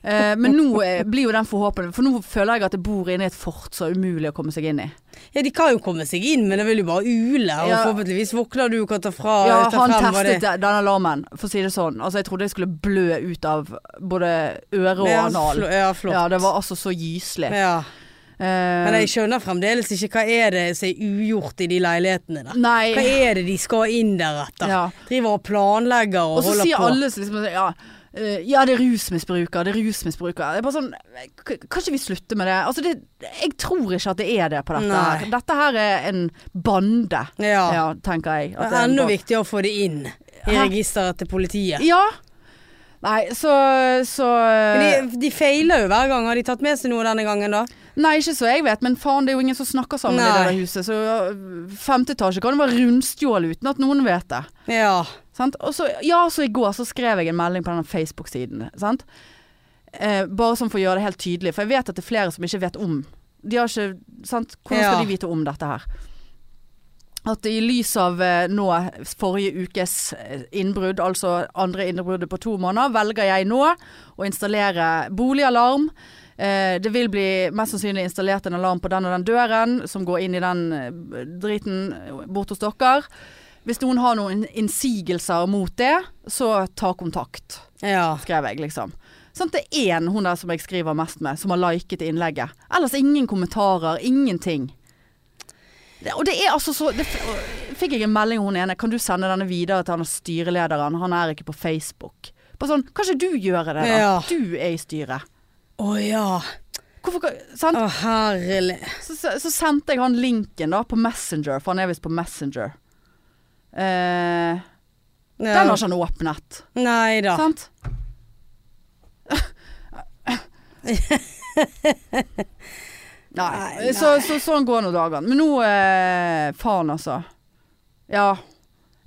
Speaker 2: Eh, men nå eh, blir jo den forhåpentlig For nå føler jeg at jeg bor inne i et fort som er umulig å komme seg inn i.
Speaker 1: Ja, de kan jo komme seg inn, men det vil jo bare ule, og
Speaker 2: Ja.
Speaker 1: forhåpentligvis våkner du og kan ta fra
Speaker 2: Ja,
Speaker 1: ta
Speaker 2: han
Speaker 1: frem hva
Speaker 2: testet
Speaker 1: det-
Speaker 2: den alarmen, for å si det sånn. Altså, jeg trodde jeg skulle blø ut av både øre og
Speaker 1: Ja,
Speaker 2: anal.
Speaker 1: fl- Ja, flott.
Speaker 2: Ja, det var altså så gyselig.
Speaker 1: Ja.
Speaker 2: Eh,
Speaker 1: Men jeg skjønner fremdeles ikke hva er det som er ugjort i de leilighetene der. Hva
Speaker 2: Nei.
Speaker 1: er det de skal inn der etter?
Speaker 2: Ja.
Speaker 1: Driver og planlegger og,
Speaker 2: Og så
Speaker 1: holder
Speaker 2: sier
Speaker 1: på.
Speaker 2: alle så liksom ja, eh, ja, det er rusmisbruker, det er rusmisbruker. Det er bare sånn eh, k- Kan ikke vi slutte med det? Altså, det, jeg tror ikke at det er det på dette
Speaker 1: Nei.
Speaker 2: her. Dette her er en bande,
Speaker 1: ja.
Speaker 2: ja, tenker jeg.
Speaker 1: Det
Speaker 2: at det er
Speaker 1: er
Speaker 2: en
Speaker 1: enda
Speaker 2: bande.
Speaker 1: viktigere å få det inn i
Speaker 2: Hæ?
Speaker 1: registeret til politiet.
Speaker 2: Ja. Nei, så, så
Speaker 1: Men de, de feiler jo hver gang. Har de tatt med seg noe denne gangen, da?
Speaker 2: Nei, ikke så jeg vet, men faen, det er jo ingen som snakker sammen i det
Speaker 1: Nei.
Speaker 2: der huset. Så eh, femte etasje kan jo være rundstjålet uten at noen vet det.
Speaker 1: Ja.
Speaker 2: Sant? Og så, ja, så i går så skrev jeg en melding på denne Facebook-siden. Sant? Eh, bare sånn for å gjøre det helt tydelig, for jeg vet at det er flere som ikke vet om. De har ikke, sant? Hvordan skal
Speaker 1: Ja.
Speaker 2: de vite om dette her? At i lys av eh, nå forrige ukes eh, innbrudd, altså andre innbruddet på to måneder, velger jeg nå å installere boligalarm. Eh, det vil bli mest sannsynlig installert en alarm på den og den døren, som går inn i den eh, driten bort hos dere. Hvis noen har noen innsigelser mot det, så ta kontakt,
Speaker 1: Ja.
Speaker 2: skrev jeg liksom. Sånn, det er én hun der som jeg skriver mest med, som har liket innlegget. Ellers ingen kommentarer, ingenting. Det, og det er altså så det, f- og- Fikk jeg en melding av hun ene, kan du sende denne videre til han styrelederen, han er ikke på Facebook. Bare sånn, kan ikke du gjøre det da?
Speaker 1: Ja.
Speaker 2: Du er i styret.
Speaker 1: Å ja.
Speaker 2: Hvorfor, kan- sant?
Speaker 1: Å herlig.
Speaker 2: så, så, så sendte jeg han linken da på Messenger, for han er visst på Messenger. Eh,
Speaker 1: Ja.
Speaker 2: Den har ikke han åpnet.
Speaker 1: Nei da.
Speaker 2: Sant? nei.
Speaker 1: Nei,
Speaker 2: Så, så, sånn går nå dagene. Men nå eh, Faen, altså. Ja.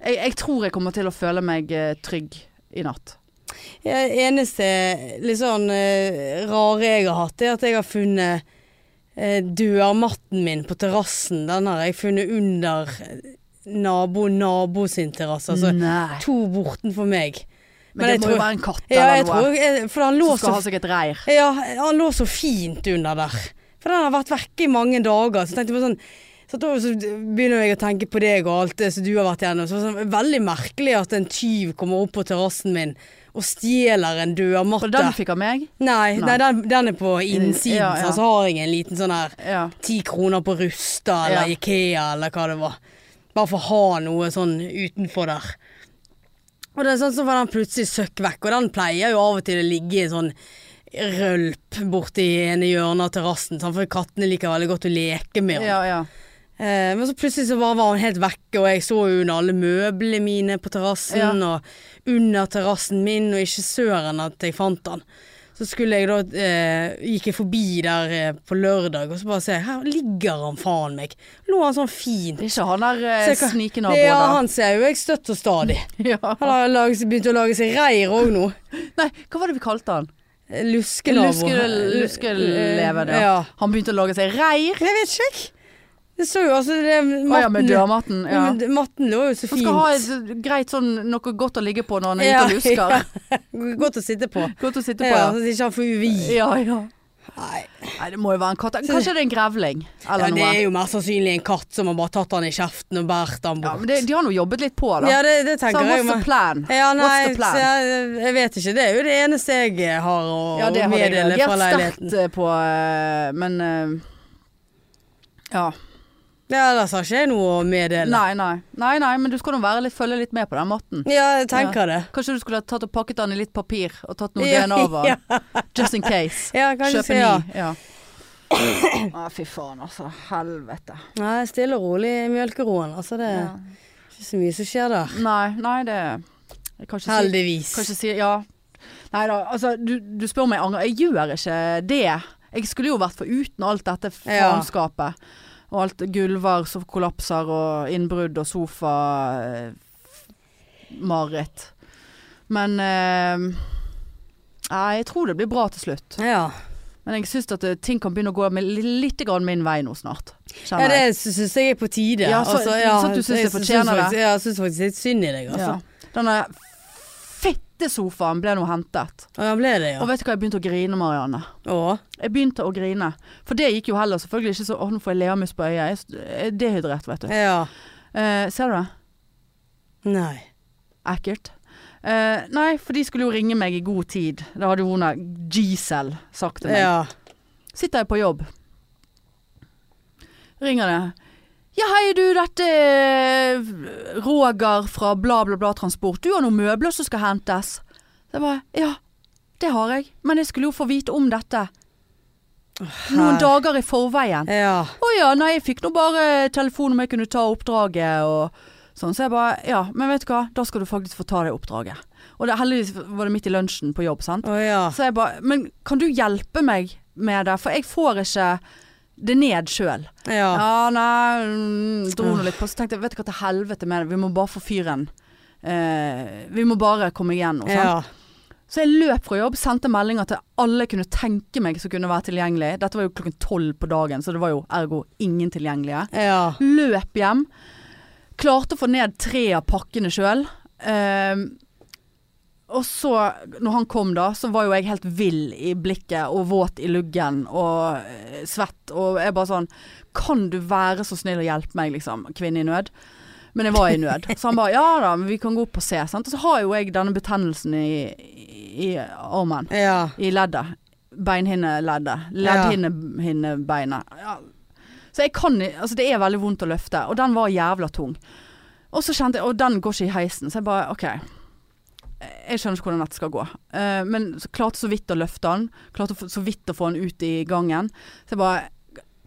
Speaker 2: Jeg, jeg tror jeg kommer til å føle meg eh, trygg i natt.
Speaker 1: Ja, eneste litt sånn eh, rare jeg har hatt, er at jeg har funnet eh, dørmatten min på terrassen. Den har jeg funnet under eh, nabo, nabo sin terrasse. Altså
Speaker 2: nei.
Speaker 1: to bortenfor meg. men
Speaker 2: Men, det
Speaker 1: jeg
Speaker 2: må
Speaker 1: tror-
Speaker 2: jo være en katt
Speaker 1: Ja, jeg
Speaker 2: eller noe
Speaker 1: tror jeg, For han lå
Speaker 2: som
Speaker 1: så
Speaker 2: skal ha seg et reir.
Speaker 1: Ja, han lå så fint under der. For den har vært vekke i mange dager. Så tenkte jeg på sånn så da så begynner jeg å tenke på deg og alt det som du har vært igjennom. Så var det sånn, veldig merkelig at en tyv kommer opp på terrassen min og stjeler en dørmatte.
Speaker 2: Og den fikk av meg.
Speaker 1: Nei, nei.
Speaker 2: Nei.
Speaker 1: den, den er på innsiden.
Speaker 2: Ja, ja.
Speaker 1: sant, Så har jeg en liten sånn her
Speaker 2: Ja.
Speaker 1: ti kroner på Rusta eller
Speaker 2: Ja.
Speaker 1: Ikea eller hva det var. Bare for å ha noe sånn utenfor der. Og det er sånn så var den plutselig søkk vekk, og den pleier jo av og til å ligge i en sånn rølp borti ene hjørnet av terrassen, sant, for kattene liker veldig godt å leke med den.
Speaker 2: Ja, ja.
Speaker 1: Eh, men så plutselig så bare var hun helt vekke, og jeg så jo under alle møblene mine på terrassen, og under terrassen min, og ikke søren at jeg fant den. Så Så skulle jeg da eh, Gikk jeg forbi der eh, på lørdag, og så bare ser jeg Her ligger han faen meg. Lå han sånn fint.
Speaker 2: Det er ikke han der eh,
Speaker 1: Så jeg kan-
Speaker 2: snikenaboen
Speaker 1: Ja,
Speaker 2: der.
Speaker 1: han ser jo jeg støtt og stadig.
Speaker 2: *laughs* Ja.
Speaker 1: Han har laget, seg- begynt å lage seg reir òg nå.
Speaker 2: Nei, hva var det vi kalte han?
Speaker 1: Luskenabo.
Speaker 2: Luske- luskelever, ja.
Speaker 1: ja.
Speaker 2: Han begynte å lage seg reir.
Speaker 1: Jeg vet ikke, jeg. Det så jo altså det,
Speaker 2: Å ja, med
Speaker 1: matten-
Speaker 2: dørmatten.
Speaker 1: Ja,
Speaker 2: Ja.
Speaker 1: men Matten lå jo så
Speaker 2: Han
Speaker 1: fint.
Speaker 2: skal ha et greit sånn noe godt å ligge på når han er
Speaker 1: *laughs* Ja,
Speaker 2: ute og lusker.
Speaker 1: *laughs* Godt å sitte på.
Speaker 2: Godt å sitte på,
Speaker 1: Ja,
Speaker 2: ja.
Speaker 1: så ikke han får UV.
Speaker 2: Ja, ja.
Speaker 1: Nei.
Speaker 2: Nei, det må jo være en katt. Kanskje det er en grevling
Speaker 1: Ja,
Speaker 2: eller
Speaker 1: det er
Speaker 2: noe.
Speaker 1: jo mer sannsynlig en katt som har bare tatt han i kjeften og båret han
Speaker 2: Ja,
Speaker 1: bort.
Speaker 2: men det, de har nå jobbet litt på, da.
Speaker 1: Ja, det, det
Speaker 2: Så
Speaker 1: tenker jeg jo.
Speaker 2: what's the
Speaker 1: men-
Speaker 2: plan?
Speaker 1: Ja,
Speaker 2: What's
Speaker 1: nei,
Speaker 2: the
Speaker 1: så
Speaker 2: plan?
Speaker 1: jeg, jeg vet ikke. Det er jo det eneste jeg har å,
Speaker 2: Ja,
Speaker 1: å
Speaker 2: det har de
Speaker 1: meddele fra
Speaker 2: reagert
Speaker 1: leiligheten.
Speaker 2: sterkt eh, på, eh, men eh, Ja.
Speaker 1: Ja, Ellers har ikke jeg noe å meddele.
Speaker 2: Nei, nei. Nei, nei, men du skal nå være litt, følge litt med på den matten.
Speaker 1: Ja, jeg tenker det.
Speaker 2: Kanskje du skulle ha tatt og pakket den i litt papir og tatt noe
Speaker 1: Ja,
Speaker 2: DNA over.
Speaker 1: *laughs* ja.
Speaker 2: Just in case.
Speaker 1: Ja, kanskje
Speaker 2: Kjøpe
Speaker 1: si ja.
Speaker 2: ny. Ja.
Speaker 1: *coughs*
Speaker 2: ah, fy faen, altså. Helvete.
Speaker 1: Nei, stille og rolig i mjølkeroen. Altså, det er
Speaker 2: Ja.
Speaker 1: ikke så mye som skjer der.
Speaker 2: Nei, nei, det jeg kan ikke si,
Speaker 1: Heldigvis.
Speaker 2: kan ikke si Ja. Nei da, altså, du, du spør om jeg angrer. Jeg gjør ikke det. Jeg skulle jo vært foruten alt dette
Speaker 1: Ja.
Speaker 2: faenskapet. Og alt gulver som kollapser, og innbrudd og sofa eh, f- Mareritt. Men eh, Nei, jeg tror det blir bra til slutt.
Speaker 1: Ja.
Speaker 2: Men jeg syns at eh, ting kan begynne å gå med li- litt grann min vei nå snart.
Speaker 1: Ja,
Speaker 2: Kjenner jeg.
Speaker 1: det syns jeg er på tide. Altså,
Speaker 2: Ja, så- sånn at du synes
Speaker 1: jeg
Speaker 2: det fortjener
Speaker 1: synes
Speaker 2: det.
Speaker 1: faktisk- Ja, jeg syns faktisk litt synd i deg, altså.
Speaker 2: Ja. Denne fittesofaen ble nå hentet.
Speaker 1: Og ja, ble det, ja.
Speaker 2: Og vet du hva, jeg begynte å grine, Marianne.
Speaker 1: Å,
Speaker 2: Jeg begynte å grine. For det gikk jo heller selvfølgelig ikke så Å, nå får jeg leamus på øyet. Jeg er s- Jeg er dehydrert, vet du.
Speaker 1: ja.
Speaker 2: Eh, ser du det?
Speaker 1: Nei.
Speaker 2: Ekkelt. Eh, nei, for de skulle jo ringe meg i god tid. Det hadde jo hun der Gisel sagt til meg.
Speaker 1: Ja.
Speaker 2: Sitter jeg på jobb. Ringer det. Ja, hei du, dette er Roger fra bla, bla, bla transport. Du har noen møbler som skal hentes. Så jeg bare Ja, det har jeg. Men jeg skulle jo få vite om dette noen dager i forveien.
Speaker 1: Ja.
Speaker 2: Å ja, nei, jeg fikk nå bare telefon om jeg kunne ta oppdraget og sånn. Så jeg bare Ja, men vet du hva, da skal du faktisk få ta det oppdraget. Og det, heldigvis var det midt i lunsjen på jobb, sant.
Speaker 1: Å ja.
Speaker 2: Så jeg bare Men kan du hjelpe meg med det? For jeg får ikke det ned sjøl. Ja.
Speaker 1: Ja.
Speaker 2: nei mm, Dro nå litt på. Så tenkte jeg, vet du hva til helvete med det. Vi må bare få fyren eh, Vi må bare komme sånn. igjennom. sant?
Speaker 1: Ja.
Speaker 2: Så jeg løp fra jobb, sendte meldinger til alle jeg kunne tenke meg som kunne være tilgjengelig. Dette var jo klokken tolv på dagen, så det var jo ergo ingen tilgjengelige.
Speaker 1: Ja.
Speaker 2: Løp hjem. Klarte å få ned tre av pakkene sjøl. og så, når han kom da, så var jo jeg helt vill i blikket og våt i luggen og eh, svett. Og jeg bare sånn Kan du være så snill å hjelpe meg, liksom? Kvinne i nød. Men jeg var i nød. Så han bare Ja da, men vi kan gå opp og se. Sant? Og så har jo jeg denne betennelsen i, i, i armen.
Speaker 1: Ja.
Speaker 2: I leddet. Beinhinneleddet. Leddhinnebeinet. Ja. Så jeg kan i- Altså, det er veldig vondt å løfte, og den var jævla tung. Og så kjente jeg Og den går ikke i heisen, så jeg bare OK. Jeg skjønner ikke hvordan dette skal gå. Eh, men så klarte så vidt å løfte den. Klarte å få- så vidt å få den ut i gangen. Så jeg bare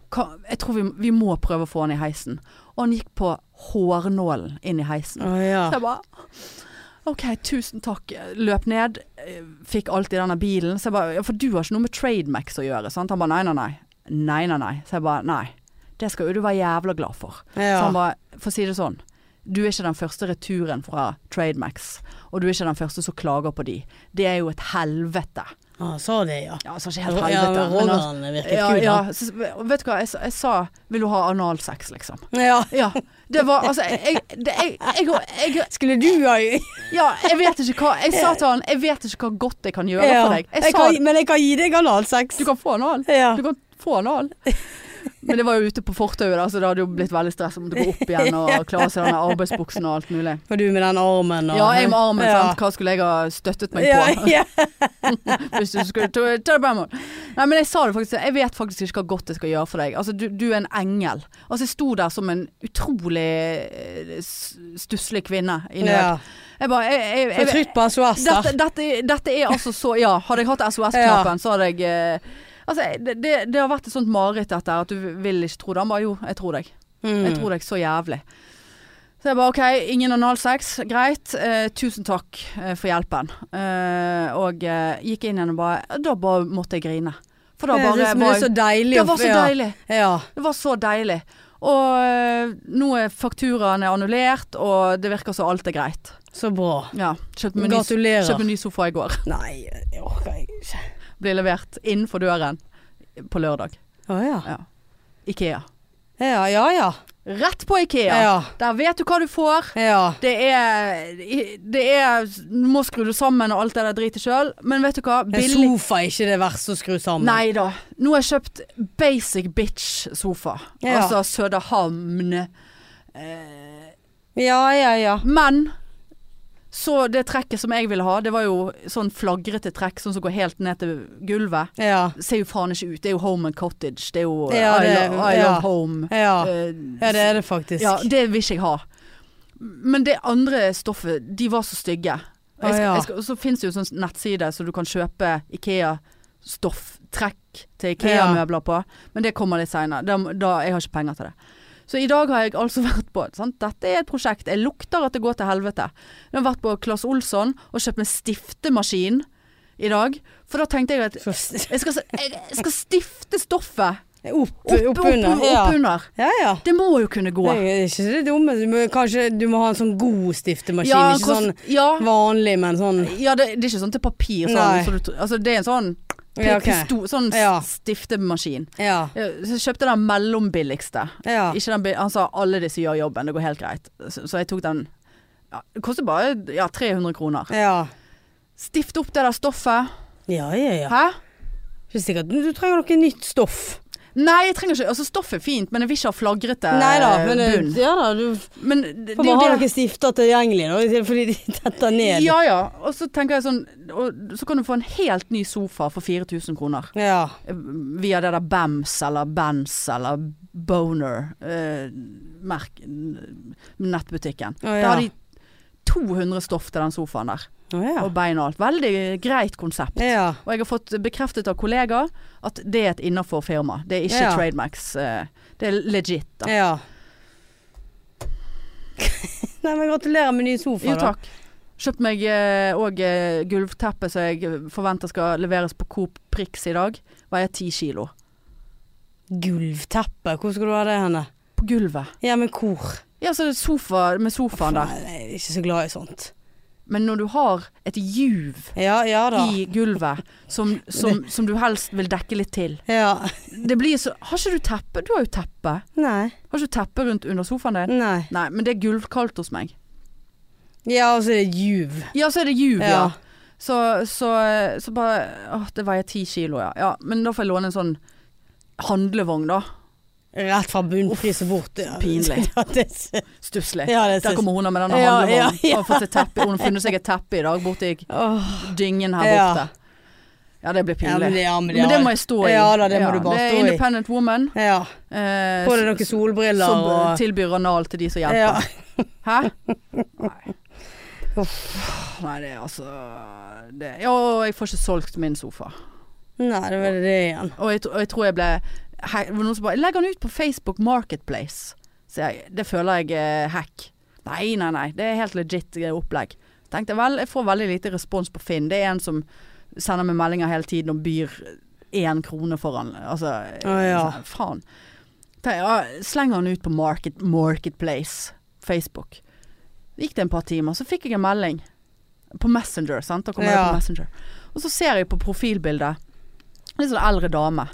Speaker 2: "Ka- Jeg tror vi, vi må prøve å få den i heisen. Og han gikk på hårnålen inn i heisen.
Speaker 1: Å ja.
Speaker 2: Så jeg bare OK, tusen takk. Løp ned. eh, Fikk alt i denne bilen. Så jeg bare Ja, for du har ikke noe med Trademax å gjøre, sant? Han bare nei, nei, nei. Nei, nei, nei. Så jeg bare nei. Det skal jo du være jævla glad for. Så han
Speaker 1: Ja.
Speaker 2: bare For å si det sånn. Du er ikke den første returen fra Trademax, og du er ikke den første som klager på de. Det er jo et helvete.
Speaker 1: Han sa det, ja.
Speaker 2: Ja, altså ikke helt
Speaker 1: Ja,
Speaker 2: helvete,
Speaker 1: men
Speaker 2: men altså
Speaker 1: Rogan virket
Speaker 2: ja,
Speaker 1: kul,
Speaker 2: ja,
Speaker 1: han.
Speaker 2: så, Vet du hva, jeg, sa- jeg sa 'vil du ha analsex', liksom.
Speaker 1: Ja.
Speaker 2: Ja. Det var altså Jeg, jeg, det- jeg, jeg, jeg, jeg
Speaker 1: Skulle du ha
Speaker 2: ja, jeg vet ikke hva
Speaker 1: *laughs*
Speaker 2: Jeg sa til han, jeg vet ikke hva godt jeg kan gjøre for deg. Jeg,
Speaker 1: Jeg
Speaker 2: sa
Speaker 1: kan, men jeg kan gi deg analsex.
Speaker 2: du kan få anal.
Speaker 1: Ja.
Speaker 2: Du kan få
Speaker 1: *laughs*
Speaker 2: anal. Men det var jo ute på fortauet, da, så det hadde jo blitt veldig stress om du går opp
Speaker 1: *laughs*
Speaker 2: igjen og klare seg i den arbeidsbuksen og alt mulig.
Speaker 1: Og du med den armen og
Speaker 2: Ja, jeg med armen,
Speaker 1: Ja.
Speaker 2: sant. Hva skulle jeg ha støttet meg
Speaker 1: Ja,
Speaker 2: på? *laughs*
Speaker 1: ja.
Speaker 2: Hvis du skulle ta ta det på den måten. Nei, men jeg sa det faktisk. Jeg vet faktisk ikke hva godt jeg skal gjøre for deg. Altså, du, du er en engel. Altså, jeg sto der som en utrolig eh, s- stusslig kvinne i nød.
Speaker 1: ja.
Speaker 2: Jeg bare jeg, jeg, jeg,
Speaker 1: Jeg trykt på SOS
Speaker 2: dette,
Speaker 1: der.
Speaker 2: dette, dette er altså så Ja, hadde jeg hatt SOS-knappen, så hadde jeg eh, Altså, det, det, det har vært et sånt mareritt, dette her, at du vil ikke tro det. Han bare jo, jeg tror deg. Jeg
Speaker 1: Mm.
Speaker 2: tror deg så jævlig. Så Så jeg bare OK, ingen analsex. Greit. Eh, tusen takk eh, for hjelpen. Eh, og eh, gikk inn igjen og bare Da bare måtte jeg grine. For da
Speaker 1: Jeg
Speaker 2: bare
Speaker 1: synes- men det er så deilig.
Speaker 2: Det
Speaker 1: å-
Speaker 2: var så deilig.
Speaker 1: Ja. ja.
Speaker 2: Det var så deilig. Og eh, nå er fakturaen er annullert, og det virker som alt er greit.
Speaker 1: Så bra.
Speaker 2: Ja. Kjøpte meg ny,
Speaker 1: Gratulerer.
Speaker 2: kjøpte meg ny sofa i går.
Speaker 1: Nei, det orker jeg ikke.
Speaker 2: Ble levert innenfor døren på lørdag.
Speaker 1: Å ja.
Speaker 2: Ja. Ikea.
Speaker 1: Ja ja. ja.
Speaker 2: Rett på Ikea.
Speaker 1: Ja.
Speaker 2: Der vet du hva du får.
Speaker 1: ja.
Speaker 2: Det er, det er Du må skru det sammen og alt det der dritet sjøl, men vet du hva?
Speaker 1: En
Speaker 2: Billig
Speaker 1: sofa er ikke det verste å skru sammen.
Speaker 2: Nei da. Nå har jeg kjøpt basic bitch-sofa.
Speaker 1: Ja.
Speaker 2: Altså Søderhamn.
Speaker 1: Ja, ja, ja.
Speaker 2: Men så det trekket som jeg ville ha, det var jo sånn flagrete trekk, sånn som går helt ned til gulvet.
Speaker 1: Ja.
Speaker 2: Ser jo faen ikke ut. Det er jo Home and Cottage. Det er jo eh,
Speaker 1: Ja,
Speaker 2: I,
Speaker 1: det-
Speaker 2: lo I
Speaker 1: ja.
Speaker 2: Love Home.
Speaker 1: Ja.
Speaker 2: Eh,
Speaker 1: ja, det er det faktisk.
Speaker 2: ja, det vil ikke jeg ha. Men det andre stoffet, de var så stygge. Og
Speaker 1: Å,
Speaker 2: jeg
Speaker 1: Ah,
Speaker 2: skal,
Speaker 1: ja.
Speaker 2: jeg skal, så finnes det jo en sånn nettside så du kan kjøpe Ikea-stofftrekk til Ikea-møbler på, men det kommer litt seinere. Da, da, jeg har ikke penger til det. Så i dag har jeg altså *laughs* vært på sant? Dette er et prosjekt. Jeg lukter at det går til helvete. Jeg har vært på Claes Olsson og kjøpt meg stiftemaskin i dag. For da tenkte jeg at
Speaker 1: Så s-
Speaker 2: jeg skal, s- jeg skal stifte stoffet
Speaker 1: Opp,
Speaker 2: opp, opp,
Speaker 1: oppunder.
Speaker 2: opp,
Speaker 1: ja.
Speaker 2: under.
Speaker 1: ja, ja.
Speaker 2: Det må jo kunne gå.
Speaker 1: Det er ikke så det dumme. Du må, kanskje du må ha en sånn god stiftemaskin. ikke
Speaker 2: hvordan-
Speaker 1: sånn
Speaker 2: ja,
Speaker 1: vanlig, men sånn
Speaker 2: Ja, det, det er ikke sånn til papir. Sånn,
Speaker 1: Nei.
Speaker 2: så du, tr- altså, det er en sånn,
Speaker 1: Ja, ok.
Speaker 2: pisto, sånn s-
Speaker 1: Ja.
Speaker 2: stiftemaskin.
Speaker 1: Ja.
Speaker 2: Ja, Så jeg kjøpte den mellombilligste.
Speaker 1: ja.
Speaker 2: Ikke den, bi- han sa alle disse gjør jobben, det går helt greit. Så, så jeg tok den. Ja, det koster bare ja, 300 kroner.
Speaker 1: Ja.
Speaker 2: Stift opp det der stoffet.
Speaker 1: Ja, ja, ja.
Speaker 2: Hæ?
Speaker 1: Ikke sikkert du trenger noe nytt stoff.
Speaker 2: Nei, jeg trenger ikke Altså, stoffet er fint, men jeg vil ikke ha flagrete eh,
Speaker 1: Nei da, men Eh, det-
Speaker 2: bunn.
Speaker 1: ja, da, du
Speaker 2: Men det,
Speaker 1: får bare
Speaker 2: det er
Speaker 1: ha
Speaker 2: jo det
Speaker 1: noen stifter tilgjengelig nå, *laughs* i tilfelle fordi de detter ned.
Speaker 2: Ja ja. Og så tenker jeg sånn og, Så kan du få en helt ny sofa for 4000 kroner.
Speaker 1: ja.
Speaker 2: via det der BAMS eller BANS eller Boner eh, merk, n- nettbutikken.
Speaker 1: Å,
Speaker 2: Da
Speaker 1: ja.
Speaker 2: har de 200 stoff til den sofaen der,
Speaker 1: Å, ja.
Speaker 2: og bein og alt. Veldig greit konsept.
Speaker 1: ja.
Speaker 2: Og jeg har fått bekreftet av kollegaer at det er et innafor firma. Det er ikke
Speaker 1: Ja.
Speaker 2: Trademax. eh, det er legit. da.
Speaker 1: Ja. *laughs* Nei, men gratulerer med ny sofa,
Speaker 2: Jo
Speaker 1: da.
Speaker 2: takk. Kjøpt meg òg gulvteppe som jeg forventer skal leveres på Coop Prix i dag. Veier ti kilo.
Speaker 1: Gulvteppe, hvor skal du ha det henne?
Speaker 2: På gulvet.
Speaker 1: Ja, men hvor?
Speaker 2: Ja, så er det sofa med sofaen der.
Speaker 1: Nei, jeg er ikke så glad i sånt.
Speaker 2: Men når du har et juv
Speaker 1: Ja, ja da.
Speaker 2: i gulvet som, som, som du helst vil dekke litt til
Speaker 1: Ja.
Speaker 2: Det blir så Har ikke du teppe? Du har jo teppe.
Speaker 1: Nei.
Speaker 2: Har ikke du teppe rundt under sofaen din?
Speaker 1: Nei.
Speaker 2: Nei, men det er gulvkaldt hos meg.
Speaker 1: Ja, og så er det juv.
Speaker 2: Ja, så er det juv, ja.
Speaker 1: Ja.
Speaker 2: Så, så, så bare Åh, det veier ti kilo, ja. ja. Men da får jeg låne en sånn handlevogn, da.
Speaker 1: Rett fra bunnpris og bort. Ja.
Speaker 2: pinlig.
Speaker 1: *laughs* Ja, det er-
Speaker 2: Stusslig.
Speaker 1: ja, det
Speaker 2: Der
Speaker 1: synes
Speaker 2: kommer hun da med denne
Speaker 1: Ja,
Speaker 2: handlevognen.
Speaker 1: ja, ja.
Speaker 2: Hun har fått et teppe. Hun har funnet seg et teppe i dag borti
Speaker 1: Åh.
Speaker 2: dyngen her
Speaker 1: Ja.
Speaker 2: borte. Ja, det blir
Speaker 1: Ja,
Speaker 2: pinlig.
Speaker 1: men det, ja, men det,
Speaker 2: Men det må jeg stå i.
Speaker 1: Ja da, det må du bare
Speaker 2: det
Speaker 1: stå
Speaker 2: er
Speaker 1: i.
Speaker 2: independent woman.
Speaker 1: Ja.
Speaker 2: eh,
Speaker 1: Få deg noen
Speaker 2: som-
Speaker 1: solbriller
Speaker 2: som
Speaker 1: og
Speaker 2: tilbyr anal til de som hjelper.
Speaker 1: Ja. *laughs*
Speaker 2: Hæ? Nei. Nei, det er altså det. Ja, og jeg får ikke solgt min sofa.
Speaker 1: Nei, det var det igjen.
Speaker 2: sånn. Og jeg, tro- og jeg tror jeg ble he- det var Noen som bare 'Legg den ut på Facebook Marketplace'. Så jeg, det føler jeg er hack. Nei, nei, nei. Det er helt legit eh, opplegg. Tenkte vel, Jeg får veldig lite respons på Finn. Det er en som sender meg meldinger hele tiden og byr én krone foran. Altså,
Speaker 1: Å, ja.
Speaker 2: sånn, faen. Ta- ja, Slenger han ut på market, Marketplace, Facebook. Gikk det en par timer, så fikk jeg en melding på Messenger. sant? Da kom jeg
Speaker 1: Ja.
Speaker 2: på Messenger. Og så ser jeg på profilbildet. Litt sånn eldre dame.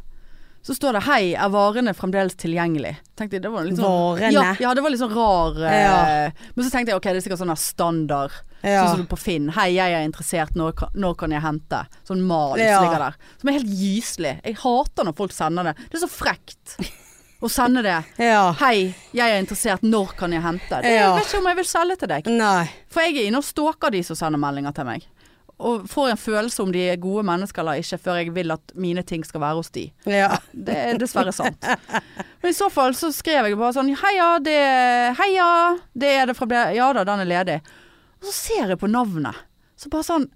Speaker 2: Så står det 'Hei, er varene fremdeles tilgjengelig?' Tenkte jeg, det var litt sånn,
Speaker 1: Varene.
Speaker 2: Ja, ja, det var litt sånn rar eh,
Speaker 1: Ja.
Speaker 2: Men så tenkte jeg ok, det er sikkert sånn her standard.
Speaker 1: Ja.
Speaker 2: Sånn som du på Finn. 'Hei, jeg er interessert. Når, kan- når kan jeg hente?' Sånn mal
Speaker 1: Ja.
Speaker 2: som ligger der. Som er helt gyselig. Jeg hater når folk sender det. Det er så frekt å sende det.
Speaker 1: Ja.
Speaker 2: 'Hei, jeg er interessert. Når kan jeg hente?' Det,
Speaker 1: Ja.
Speaker 2: Jeg vet ikke om jeg vil selge til deg.
Speaker 1: Nei.
Speaker 2: For jeg er inne og stalker de som sender meldinger til meg. Og får en følelse om de er gode mennesker eller ikke, før jeg vil at mine ting skal være hos de.
Speaker 1: Ja.
Speaker 2: Det er dessverre sant. Men i så fall så skrev jeg bare sånn Heia, det, heia, det er det fra ble... Ja da, den er ledig. Og så ser jeg på navnet. Så bare sånn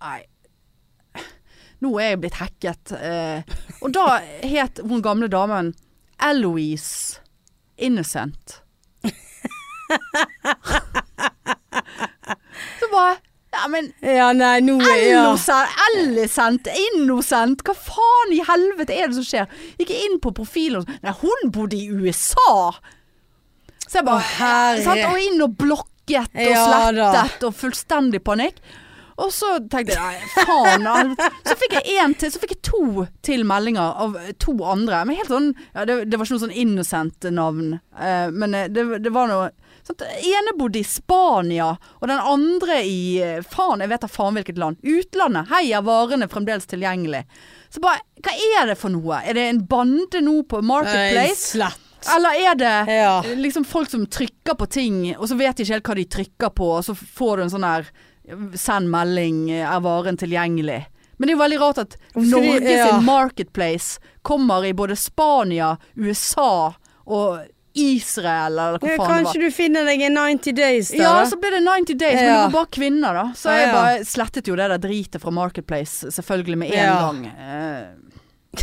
Speaker 2: Nei. Nå er jeg blitt hacket. Eh, og da het hun gamle damen Eloise Innocent. Så bare Ja, men
Speaker 1: Ja, nei, nå er ja.
Speaker 2: Innocent, Ellicent, Innocent, hva faen i helvete er det som skjer? Gikk jeg inn på profilen og så- Nei, hun bodde i USA! Så jeg bare
Speaker 1: Å, herre.
Speaker 2: sant? Og inn og blokket og
Speaker 1: Ja da.
Speaker 2: slettet og fullstendig panikk. Og så tenkte jeg nei, faen. al- Så fikk jeg en til, så fikk jeg to til meldinger av to andre. Men helt sånn ja, det, det var ikke noe sånn innocent navn. eh, men eh, det, det var noe Sant? Den ene bodde i Spania, og den andre i eh, faen, jeg vet da faen hvilket land. Utlandet. Hei, er varene fremdeles tilgjengelig? Så bare, hva er det for noe? Er det en bande nå på
Speaker 1: Nei,
Speaker 2: Marketplace?
Speaker 1: Slett.
Speaker 2: Eller er det
Speaker 1: Ja.
Speaker 2: eh, liksom folk som trykker på ting, og så vet de ikke helt hva de trykker på, og så får du en sånn her Send melding, eh, er varen tilgjengelig? Men det er jo veldig rart at
Speaker 1: Hvorfor de-
Speaker 2: Norge
Speaker 1: ja.
Speaker 2: sin marketplace kommer i både Spania, USA og Israel, eller hva faen det var.
Speaker 1: Kanskje du finner deg en 90 days der?
Speaker 2: Ja,
Speaker 1: da?
Speaker 2: så ble det 90 days, men
Speaker 1: Ja.
Speaker 2: det var bare kvinner da. Så
Speaker 1: Ja,
Speaker 2: jeg
Speaker 1: ja.
Speaker 2: bare slettet jo det der dritet fra Marketplace, selvfølgelig med en
Speaker 1: Ja.
Speaker 2: gang.
Speaker 1: *laughs*
Speaker 2: Eh,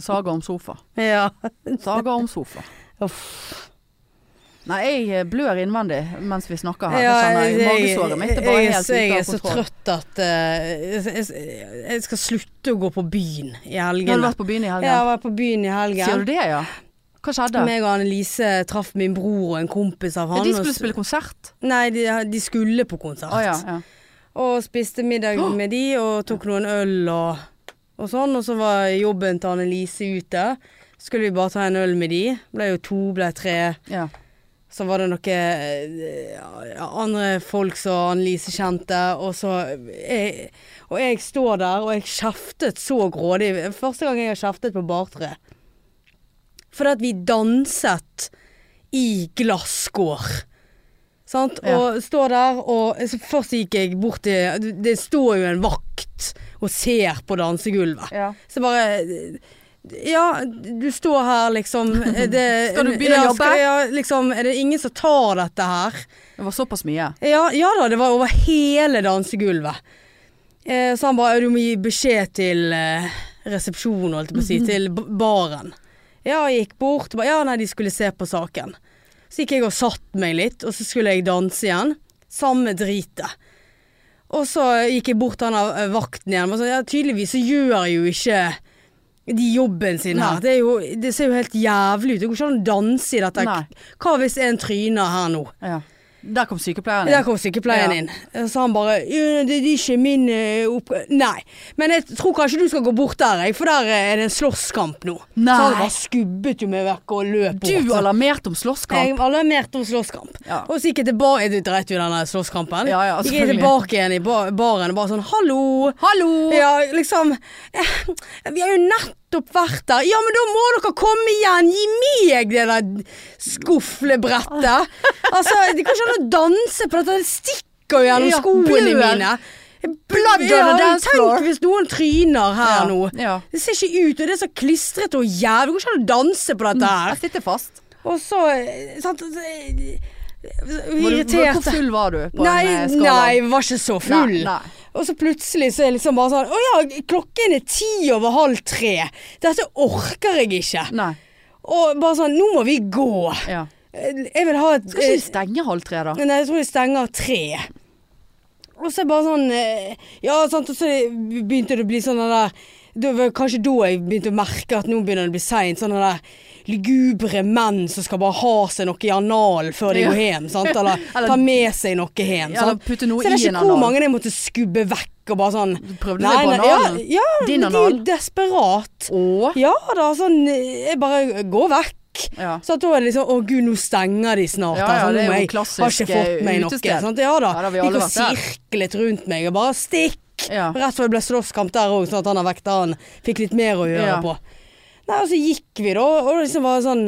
Speaker 2: saga om sofa.
Speaker 1: ja.
Speaker 2: Saga om sofa.
Speaker 1: *laughs* Uff.
Speaker 2: Nei, jeg eh, blør innvendig mens vi snakker her.
Speaker 1: Ja,
Speaker 2: det kjenner jeg. Magesåret mitt er bare
Speaker 1: jeg er
Speaker 2: helt
Speaker 1: så- Jeg
Speaker 2: ute
Speaker 1: er
Speaker 2: av
Speaker 1: så
Speaker 2: kontroll.
Speaker 1: trøtt at eh, jeg, jeg, jeg skal slutte å gå på byen i
Speaker 2: Har du
Speaker 1: helgen.
Speaker 2: vært på byen i
Speaker 1: Jeg har
Speaker 2: helgen?
Speaker 1: vært på byen i helgen.
Speaker 2: Sier du det, ja? Hva skjedde?
Speaker 1: Meg og Annelise traff min bror og en kompis av han.
Speaker 2: de
Speaker 1: og
Speaker 2: skulle
Speaker 1: s-
Speaker 2: spille konsert.
Speaker 1: Nei, de, de skulle på konsert.
Speaker 2: Å ja, ja.
Speaker 1: Og spiste middag med de og tok noen øl og, og sånn. Og så var jobben til Annelise ute. Skulle vi bare ta en øl med de. Ble jo to, ble tre.
Speaker 2: ja.
Speaker 1: Så var det noen ja, andre folk som Annelise kjente, og så jeg, Og jeg står der, og jeg kjeftet så grådig. Første gang jeg har kjeftet på bartre. Fordi at vi danset i glasskår. Sant?
Speaker 2: Ja.
Speaker 1: Og står der, og så først gikk jeg bort til Det står jo en vakt og ser på dansegulvet.
Speaker 2: ja.
Speaker 1: Så bare Ja, du står her, liksom. Er
Speaker 2: *laughs*
Speaker 1: Det,
Speaker 2: Skal du begynne å
Speaker 1: ja,
Speaker 2: jobbe?
Speaker 1: skal- Ja, liksom, er det ingen som tar dette her?
Speaker 2: Det var såpass mye.
Speaker 1: Ja, ja da, det var over hele dansegulvet. Eh, så han bare Du må gi beskjed til eh, resepsjonen, holdt jeg på å si.
Speaker 2: Mhm.
Speaker 1: Til b- baren. Ja, jeg gikk bort. og Ba, ja, nei, de skulle se på saken. Så gikk jeg og satt meg litt, og så skulle jeg danse igjen. Samme dritet. Og så gikk jeg bort til han av eh, vakten igjen. Og så, ja, tydeligvis så gjør jeg jo ikke de jobben sin her.
Speaker 2: Nei.
Speaker 1: Det, er jo, det ser jo helt jævlig ut. Det går ikke an å danse i dette.
Speaker 2: Nei.
Speaker 1: Hva hvis en tryner her nå?
Speaker 2: Ja. Der kom sykepleieren.
Speaker 1: Der
Speaker 2: inn.
Speaker 1: kom sykepleieren
Speaker 2: Ja.
Speaker 1: inn. Så han bare «Ja, Det er ikke min eh, oppgave Nei. Men jeg tror kanskje du skal gå bort der, jeg, for der eh, er det en slåsskamp nå.
Speaker 2: Nei.
Speaker 1: Så han bare skubbet jo meg vekk og løp bort.
Speaker 2: Du alarmerte om slåsskamp.
Speaker 1: Jeg alarmerte om slåsskamp.
Speaker 2: Ja.
Speaker 1: Og så gikk jeg tilbake Jeg dreit jo i denne slåsskampen.
Speaker 2: Ja, ja,
Speaker 1: gikk jeg
Speaker 2: selvfølgelig.
Speaker 1: tilbake igjen i ba- baren og bare sånn Hallo!
Speaker 2: Hallo!
Speaker 1: Ja, liksom eh, Vi har jo nettopp vært der. Ja, men da må dere komme igjen! Gi meg det der skuflebrettet! Altså, det går ikke an å danse på dette. Det stikker jo gjennom
Speaker 2: Ja,
Speaker 1: skoene
Speaker 2: blør.
Speaker 1: mine.
Speaker 2: Blood on the dance floor.
Speaker 1: Tenk hvis noen tryner her
Speaker 2: Ja,
Speaker 1: nå.
Speaker 2: ja.
Speaker 1: Det ser ikke ut, og det er så klistret og jævlig. Det går ikke an å danse på dette her.
Speaker 2: Jeg sitter fast.
Speaker 1: Og så eh, sant, så, eh,
Speaker 2: Var du- Hvor
Speaker 1: Irriterte.
Speaker 2: full var du på
Speaker 1: Nei,
Speaker 2: en eh, skala?
Speaker 1: nei, var ikke så full.
Speaker 2: Nei, nei.
Speaker 1: Og så plutselig så er jeg liksom bare sånn Å ja, klokken er ti over halv tre. Dette orker jeg ikke.
Speaker 2: Nei,
Speaker 1: Og bare sånn Nå må vi gå.
Speaker 2: ja.
Speaker 1: Eh, Jeg vil ha et
Speaker 2: Skal ikke de
Speaker 1: eh,
Speaker 2: stenge halv tre, da?
Speaker 1: Nei, jeg tror de stenger tre. Og så er jeg bare sånn eh, Ja, sant, og så begynte det å bli sånn den der det var kanskje da jeg begynte å merke at nå begynner det å bli seint. Sånne der lugubre menn som skal bare ha seg noe i analen før de
Speaker 2: Ja.
Speaker 1: går hjem. Sant?
Speaker 2: *laughs*
Speaker 1: Eller,
Speaker 2: Eller-
Speaker 1: ta med seg noe hjem.
Speaker 2: Eller
Speaker 1: Sant?
Speaker 2: putte noe
Speaker 1: så det
Speaker 2: i
Speaker 1: er
Speaker 2: en
Speaker 1: ikke hvor
Speaker 2: anal.
Speaker 1: mange jeg måtte skubbe vekk og bare sånn
Speaker 2: Du prøvde deg på
Speaker 1: ja,
Speaker 2: analen?
Speaker 1: ja,
Speaker 2: Din
Speaker 1: men de er
Speaker 2: anal?
Speaker 1: jo desperat.
Speaker 2: Å?
Speaker 1: Ja da, sånn eh, Jeg bare går vekk.
Speaker 2: Ja.
Speaker 1: Så at da er det liksom Å gud, nå stenger de snart.
Speaker 2: Ja,
Speaker 1: altså,
Speaker 2: ja, det er
Speaker 1: nå må
Speaker 2: jo
Speaker 1: jeg-
Speaker 2: klassisk,
Speaker 1: Har ikke fått meg
Speaker 2: eh,
Speaker 1: noe.
Speaker 2: utested.
Speaker 1: Sant? Ja da.
Speaker 2: Ja, det har vi alle
Speaker 1: Gikk og
Speaker 2: vært der.
Speaker 1: sirklet rundt meg og bare stikk.
Speaker 2: Ja.
Speaker 1: Rett før det ble slåsskamp der òg, sånn at han har vekta han. Fikk litt mer å gjøre
Speaker 2: Ja.
Speaker 1: på. Nei, og så gikk vi da, og det liksom var sånn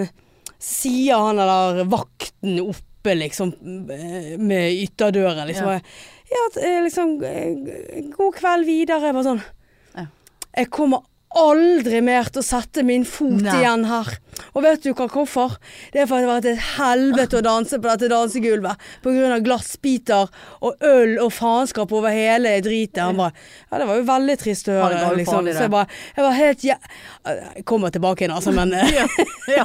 Speaker 1: Sier han eller vakten oppe liksom eh, med ytterdøren liksom
Speaker 2: Ja.
Speaker 1: Ja, ja at, eh, liksom eh, God kveld videre. Jeg Bare sånn
Speaker 2: Ja.
Speaker 1: Jeg kommer aldri mer til å sette min fot
Speaker 2: Nei.
Speaker 1: igjen her. Og vet du hva, hvorfor? Det er for at det har vært et helvete å danse på dette dansegulvet. På grunn av glassbiter og øl og faenskap over hele dritet. Han bare Ja, det var jo veldig trist å
Speaker 2: Ja, det
Speaker 1: høre,
Speaker 2: var jo
Speaker 1: liksom.
Speaker 2: farlig, det.
Speaker 1: Så jeg bare Jeg var helt jæ... Jeg kommer tilbake igjen, altså,
Speaker 2: *laughs*
Speaker 1: men eh,
Speaker 2: Ja, men jeg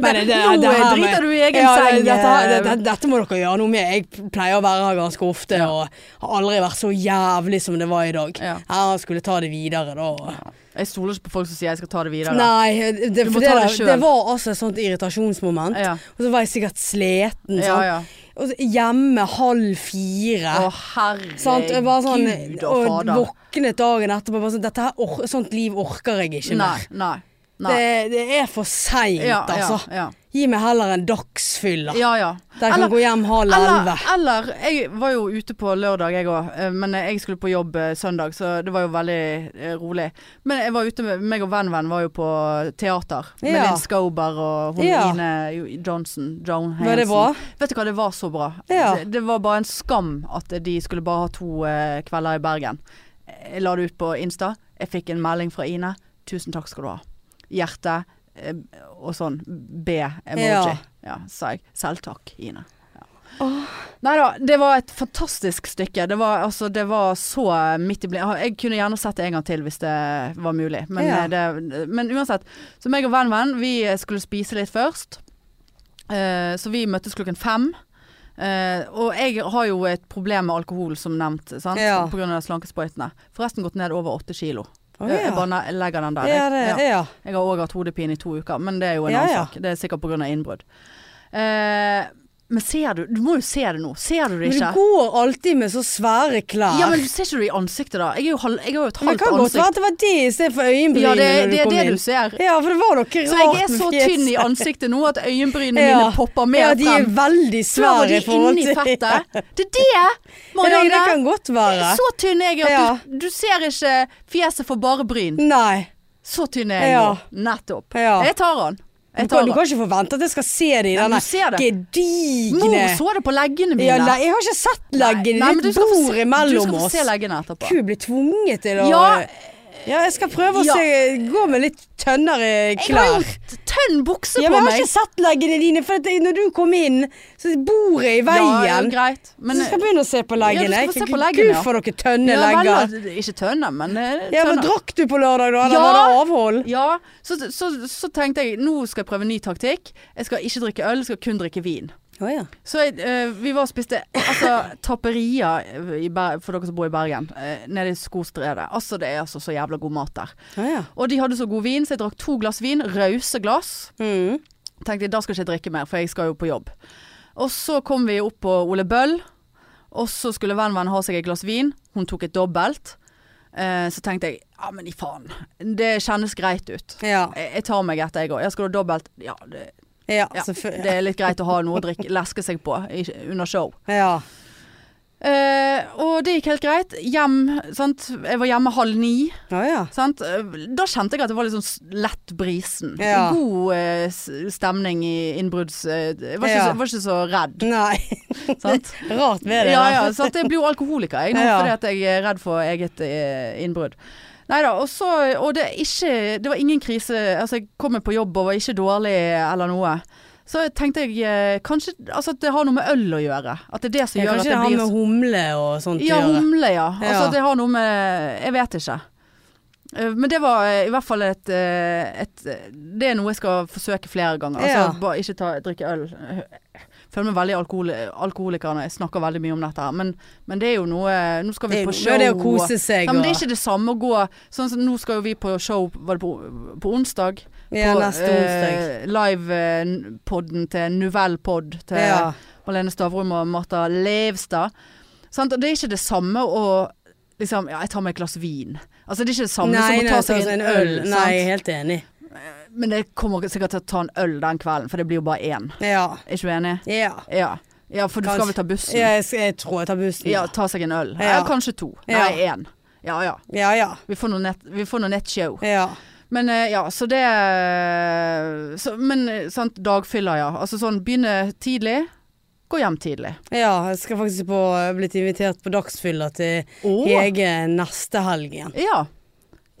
Speaker 1: *laughs* men det- det-
Speaker 2: nå
Speaker 1: det her med-
Speaker 2: driter du i egen
Speaker 1: ja,
Speaker 2: seng.
Speaker 1: det- Dette, her-
Speaker 2: eh,
Speaker 1: det- det- dette må dere gjøre noe med. Jeg pleier å være her ganske ofte og har aldri vært så jævlig som det var i dag.
Speaker 2: Ja.
Speaker 1: Jeg skulle ta det videre da. og-
Speaker 2: Jeg stoler ikke på folk som sier jeg skal ta det videre.
Speaker 1: Nei, det,
Speaker 2: Du må
Speaker 1: for det,
Speaker 2: ta det
Speaker 1: der-
Speaker 2: selv.
Speaker 1: det var altså et sånt irritasjonsmoment.
Speaker 2: Ja.
Speaker 1: Og så var jeg sikkert sliten.
Speaker 2: Ja,
Speaker 1: sant?
Speaker 2: ja.
Speaker 1: Og så hjemme halv fire.
Speaker 2: Å
Speaker 1: sant? Jeg Bare sånn,
Speaker 2: herregud og
Speaker 1: og
Speaker 2: fader.
Speaker 1: våknet dagen etterpå. Bare sånn, Dette her, or sånt liv orker jeg ikke
Speaker 2: Nei,
Speaker 1: mer.
Speaker 2: nei. nei.
Speaker 1: Det, det er for seint,
Speaker 2: ja, ja,
Speaker 1: altså.
Speaker 2: ja.
Speaker 1: Gi meg heller en dagsfyller.
Speaker 2: ja, ja.
Speaker 1: Der jeg kan gå hjem halv elleve.
Speaker 2: eller, eller Jeg var jo ute på lørdag, jeg òg. Men jeg skulle på jobb eh, søndag, så det var jo veldig eh, rolig. Men jeg var ute med meg og venn-venn var jo på teater. Med
Speaker 1: Ja.
Speaker 2: Linn Skouber og hun
Speaker 1: Ja.
Speaker 2: Ine Johnson. Joan Hansen.
Speaker 1: Var det bra?
Speaker 2: Vet du hva, det var så bra.
Speaker 1: Ja.
Speaker 2: Det, det var bare en skam at de skulle bare ha to eh, kvelder i Bergen. Jeg la det ut på Insta. Jeg fikk en melding fra Ine. Tusen takk skal du ha. Hjerte eh, og sånn B-emoji.
Speaker 1: Ja.
Speaker 2: Ja. sa jeg. Selv takk, Ine. Nei da, det var et fantastisk stykke. Det var, altså, det var så eh, midt i blind. Jeg kunne gjerne sett det en gang til hvis det var mulig. Men, eh,
Speaker 1: Ja.
Speaker 2: det, men uansett. Så meg og venn-venn, vi skulle spise litt først. Eh, så vi møttes klokken fem. Eh, og jeg har jo et problem med alkohol, som nevnt. Sant?
Speaker 1: Ja.
Speaker 2: På grunn av slankesprøytene. Forresten gått ned over åtte kilo.
Speaker 1: Å,
Speaker 2: Jeg-
Speaker 1: ja.
Speaker 2: Jeg bare ne- legger den der.
Speaker 1: Ja,
Speaker 2: jeg.
Speaker 1: det,
Speaker 2: Ja.
Speaker 1: ja.
Speaker 2: Jeg har òg hatt hodepine i to uker, men det er jo en
Speaker 1: Ja,
Speaker 2: annen
Speaker 1: ja.
Speaker 2: sak. Det er sikkert pga. innbrudd. Eh, men ser du Du må jo se det nå. Ser du
Speaker 1: Men
Speaker 2: det
Speaker 1: du
Speaker 2: ikke?
Speaker 1: går alltid med så svære klær.
Speaker 2: Ja, men du Ser ikke du i ansiktet, da? Jeg, er jo halv, jeg har jo et
Speaker 1: Men det
Speaker 2: halvt
Speaker 1: kan godt være
Speaker 2: ansikt.
Speaker 1: at det var det istedenfor øyenbrynene
Speaker 2: Ja, det,
Speaker 1: når du
Speaker 2: det er
Speaker 1: kom
Speaker 2: det
Speaker 1: inn.
Speaker 2: du ser.
Speaker 1: Ja, for det var noe rart
Speaker 2: Så jeg er
Speaker 1: med
Speaker 2: så
Speaker 1: fjeset.
Speaker 2: tynn i ansiktet nå at
Speaker 1: *laughs*
Speaker 2: øyenbrynene
Speaker 1: Ja.
Speaker 2: mine popper mer
Speaker 1: Ja, de er
Speaker 2: frem.
Speaker 1: veldig
Speaker 2: Før var
Speaker 1: svære
Speaker 2: de
Speaker 1: i forhold
Speaker 2: inni
Speaker 1: til-
Speaker 2: fettet. Det er det,
Speaker 1: *laughs* Ja, det, det
Speaker 2: Marianne.
Speaker 1: kan godt være.
Speaker 2: Så tynn er jeg at
Speaker 1: Ja.
Speaker 2: du, du ser ikke fjeset for bare bryn.
Speaker 1: Nei.
Speaker 2: Så tynn er jeg
Speaker 1: Ja.
Speaker 2: nå. Nettopp.
Speaker 1: Ja.
Speaker 2: Jeg tar den.
Speaker 1: Du
Speaker 2: Jeg
Speaker 1: kan,
Speaker 2: tar
Speaker 1: du
Speaker 2: den.
Speaker 1: kan ikke forvente at jeg skal se det i
Speaker 2: Nei, men
Speaker 1: denne
Speaker 2: du ser det.
Speaker 1: gedigne
Speaker 2: Mor så det på leggene mine.
Speaker 1: ja, le- Jeg har ikke sett leggene.
Speaker 2: Nei,
Speaker 1: Det
Speaker 2: men
Speaker 1: er
Speaker 2: du
Speaker 1: et
Speaker 2: skal få se-
Speaker 1: bord imellom
Speaker 2: Du skal få
Speaker 1: oss.
Speaker 2: se leggene etterpå.
Speaker 1: Gud, blir tvunget til å
Speaker 2: Ja.
Speaker 1: Ja, jeg skal prøve å
Speaker 2: Ja.
Speaker 1: se, gå med litt tønnere
Speaker 2: Jeg har
Speaker 1: klær.
Speaker 2: jo tønn bukse
Speaker 1: Ja, men jeg
Speaker 2: på
Speaker 1: har
Speaker 2: meg.
Speaker 1: ikke sett leggene dine, for at jeg- når du kom inn, så er bordet i veien.
Speaker 2: Ja, greit.
Speaker 1: så
Speaker 2: Men
Speaker 1: jeg skal begynne å se på
Speaker 2: Ja,
Speaker 1: leggene.
Speaker 2: du skal få se på leggene,
Speaker 1: Gud,
Speaker 2: ja.
Speaker 1: for noen tønne
Speaker 2: ja, vel,
Speaker 1: legger.
Speaker 2: ikke tønne, men eh,
Speaker 1: Ja, men
Speaker 2: tønner.
Speaker 1: drakk du på lørdag, da? Eller
Speaker 2: Ja.
Speaker 1: var det avhold?
Speaker 2: Ja, så, så, så tenkte jeg nå skal jeg prøve en ny taktikk. Jeg skal ikke drikke øl, jeg skal kun drikke vin.
Speaker 1: Å ja.
Speaker 2: Så jeg, eh, vi var og spiste altså, taperia i Ber for dere som bor i Bergen, eh, nede i Skostredet. Altså, det er altså så jævla god mat der.
Speaker 1: Å ja.
Speaker 2: Og de hadde så god vin, så jeg drakk to glass vin, rause glass.
Speaker 1: Mm.
Speaker 2: Tenkte jeg, da skal jeg ikke drikke mer, for jeg skal jo på jobb. Og så kom vi opp på Ole Bøll, og så skulle vennen ha seg et glass vin. Hun tok et dobbelt. Eh, så tenkte jeg, ja men i faen, det kjennes greit ut.
Speaker 1: Ja.
Speaker 2: Jeg, jeg tar meg etter, jeg òg. Jeg skal ha dobbelt. Ja, det,
Speaker 1: Ja,
Speaker 2: ja,
Speaker 1: selvfølgelig.
Speaker 2: det er litt greit å ha noe å drikke, leske seg på i, under show.
Speaker 1: Ja.
Speaker 2: Eh, og det gikk helt greit. Hjem, sant. Jeg var hjemme halv ni.
Speaker 1: Å ja.
Speaker 2: Sant? Da kjente jeg at det var litt sånn s- lett brisen.
Speaker 1: Ja.
Speaker 2: God eh, s- stemning i innbrudds... eh, Jeg var, ikke
Speaker 1: Ja.
Speaker 2: så, var ikke så
Speaker 1: *laughs*
Speaker 2: redd,
Speaker 1: Nei.
Speaker 2: sant?
Speaker 1: Rart ved det.
Speaker 2: ja,
Speaker 1: da.
Speaker 2: ja, sant? Jeg blir jo alkoholiker jeg nå,
Speaker 1: Ja.
Speaker 2: fordi at jeg er redd for eget eh, innbrudd. Nei da, og så Og det, er ikke, det var ingen krise. Altså, jeg kom meg på jobb og var ikke dårlig eller noe. Så tenkte jeg eh, kanskje altså, at det har noe med øl å gjøre. At det er det som
Speaker 1: Ja, kanskje
Speaker 2: gjør at
Speaker 1: det
Speaker 2: det
Speaker 1: har
Speaker 2: blir
Speaker 1: med humle og sånt
Speaker 2: ja,
Speaker 1: å gjøre.
Speaker 2: humle, ja. Altså
Speaker 1: Ja.
Speaker 2: det har noe med Jeg vet ikke. Eh, Men det var eh, i hvert fall et, eh, et eh, Det er noe jeg skal forsøke flere ganger.
Speaker 1: Ja.
Speaker 2: Altså bare ikke ta, drikke øl. Føler meg veldig alkohol, alkoholiker når jeg snakker veldig mye om dette her, men, men det er jo noe Nå skal vi
Speaker 1: Det er
Speaker 2: på
Speaker 1: jo
Speaker 2: show.
Speaker 1: det å kose seg
Speaker 2: Nei, men det er
Speaker 1: og-
Speaker 2: ikke det samme å gå Sånn som nå skal jo vi på show Var det på, på onsdag?
Speaker 1: Ja,
Speaker 2: på,
Speaker 1: neste onsdag.
Speaker 2: Eh, Live-podden til Novell Pod til
Speaker 1: Ja.
Speaker 2: Malene Stavrum og Martha Levstad. Sant? Og det er ikke det samme å liksom Ja, jeg tar meg et glass vin. Altså det er ikke det samme
Speaker 1: Nei,
Speaker 2: som å
Speaker 1: nei,
Speaker 2: ta
Speaker 1: sånn
Speaker 2: seg
Speaker 1: som
Speaker 2: en øl.
Speaker 1: Nei, jeg er
Speaker 2: sant?
Speaker 1: helt enig.
Speaker 2: Men jeg kommer sikkert til å ta en øl den kvelden, for det blir jo bare én.
Speaker 1: Ja.
Speaker 2: Er ikke du enig?
Speaker 1: Ja.
Speaker 2: Ja. ja for du
Speaker 1: Kanskje-
Speaker 2: skal vel ta bussen?
Speaker 1: ja jeg, jeg tror jeg tar bussen.
Speaker 2: Ja,
Speaker 1: da.
Speaker 2: ta seg en øl.
Speaker 1: Ja.
Speaker 2: Ja, kanskje to.
Speaker 1: Ja.
Speaker 2: Nei, én. Ja ja.
Speaker 1: Ja, ja.
Speaker 2: Vi får noe nett- vi får noe nettshow.
Speaker 1: Ja.
Speaker 2: Men eh, ja, så det så, Men eh, sant, dagfyller, ja. Altså sånn begynne tidlig, gå hjem tidlig.
Speaker 1: ja. Jeg skal faktisk på blitt invitert på dagsfylla til
Speaker 2: Åh.
Speaker 1: Hege neste helg igjen.
Speaker 2: Ja.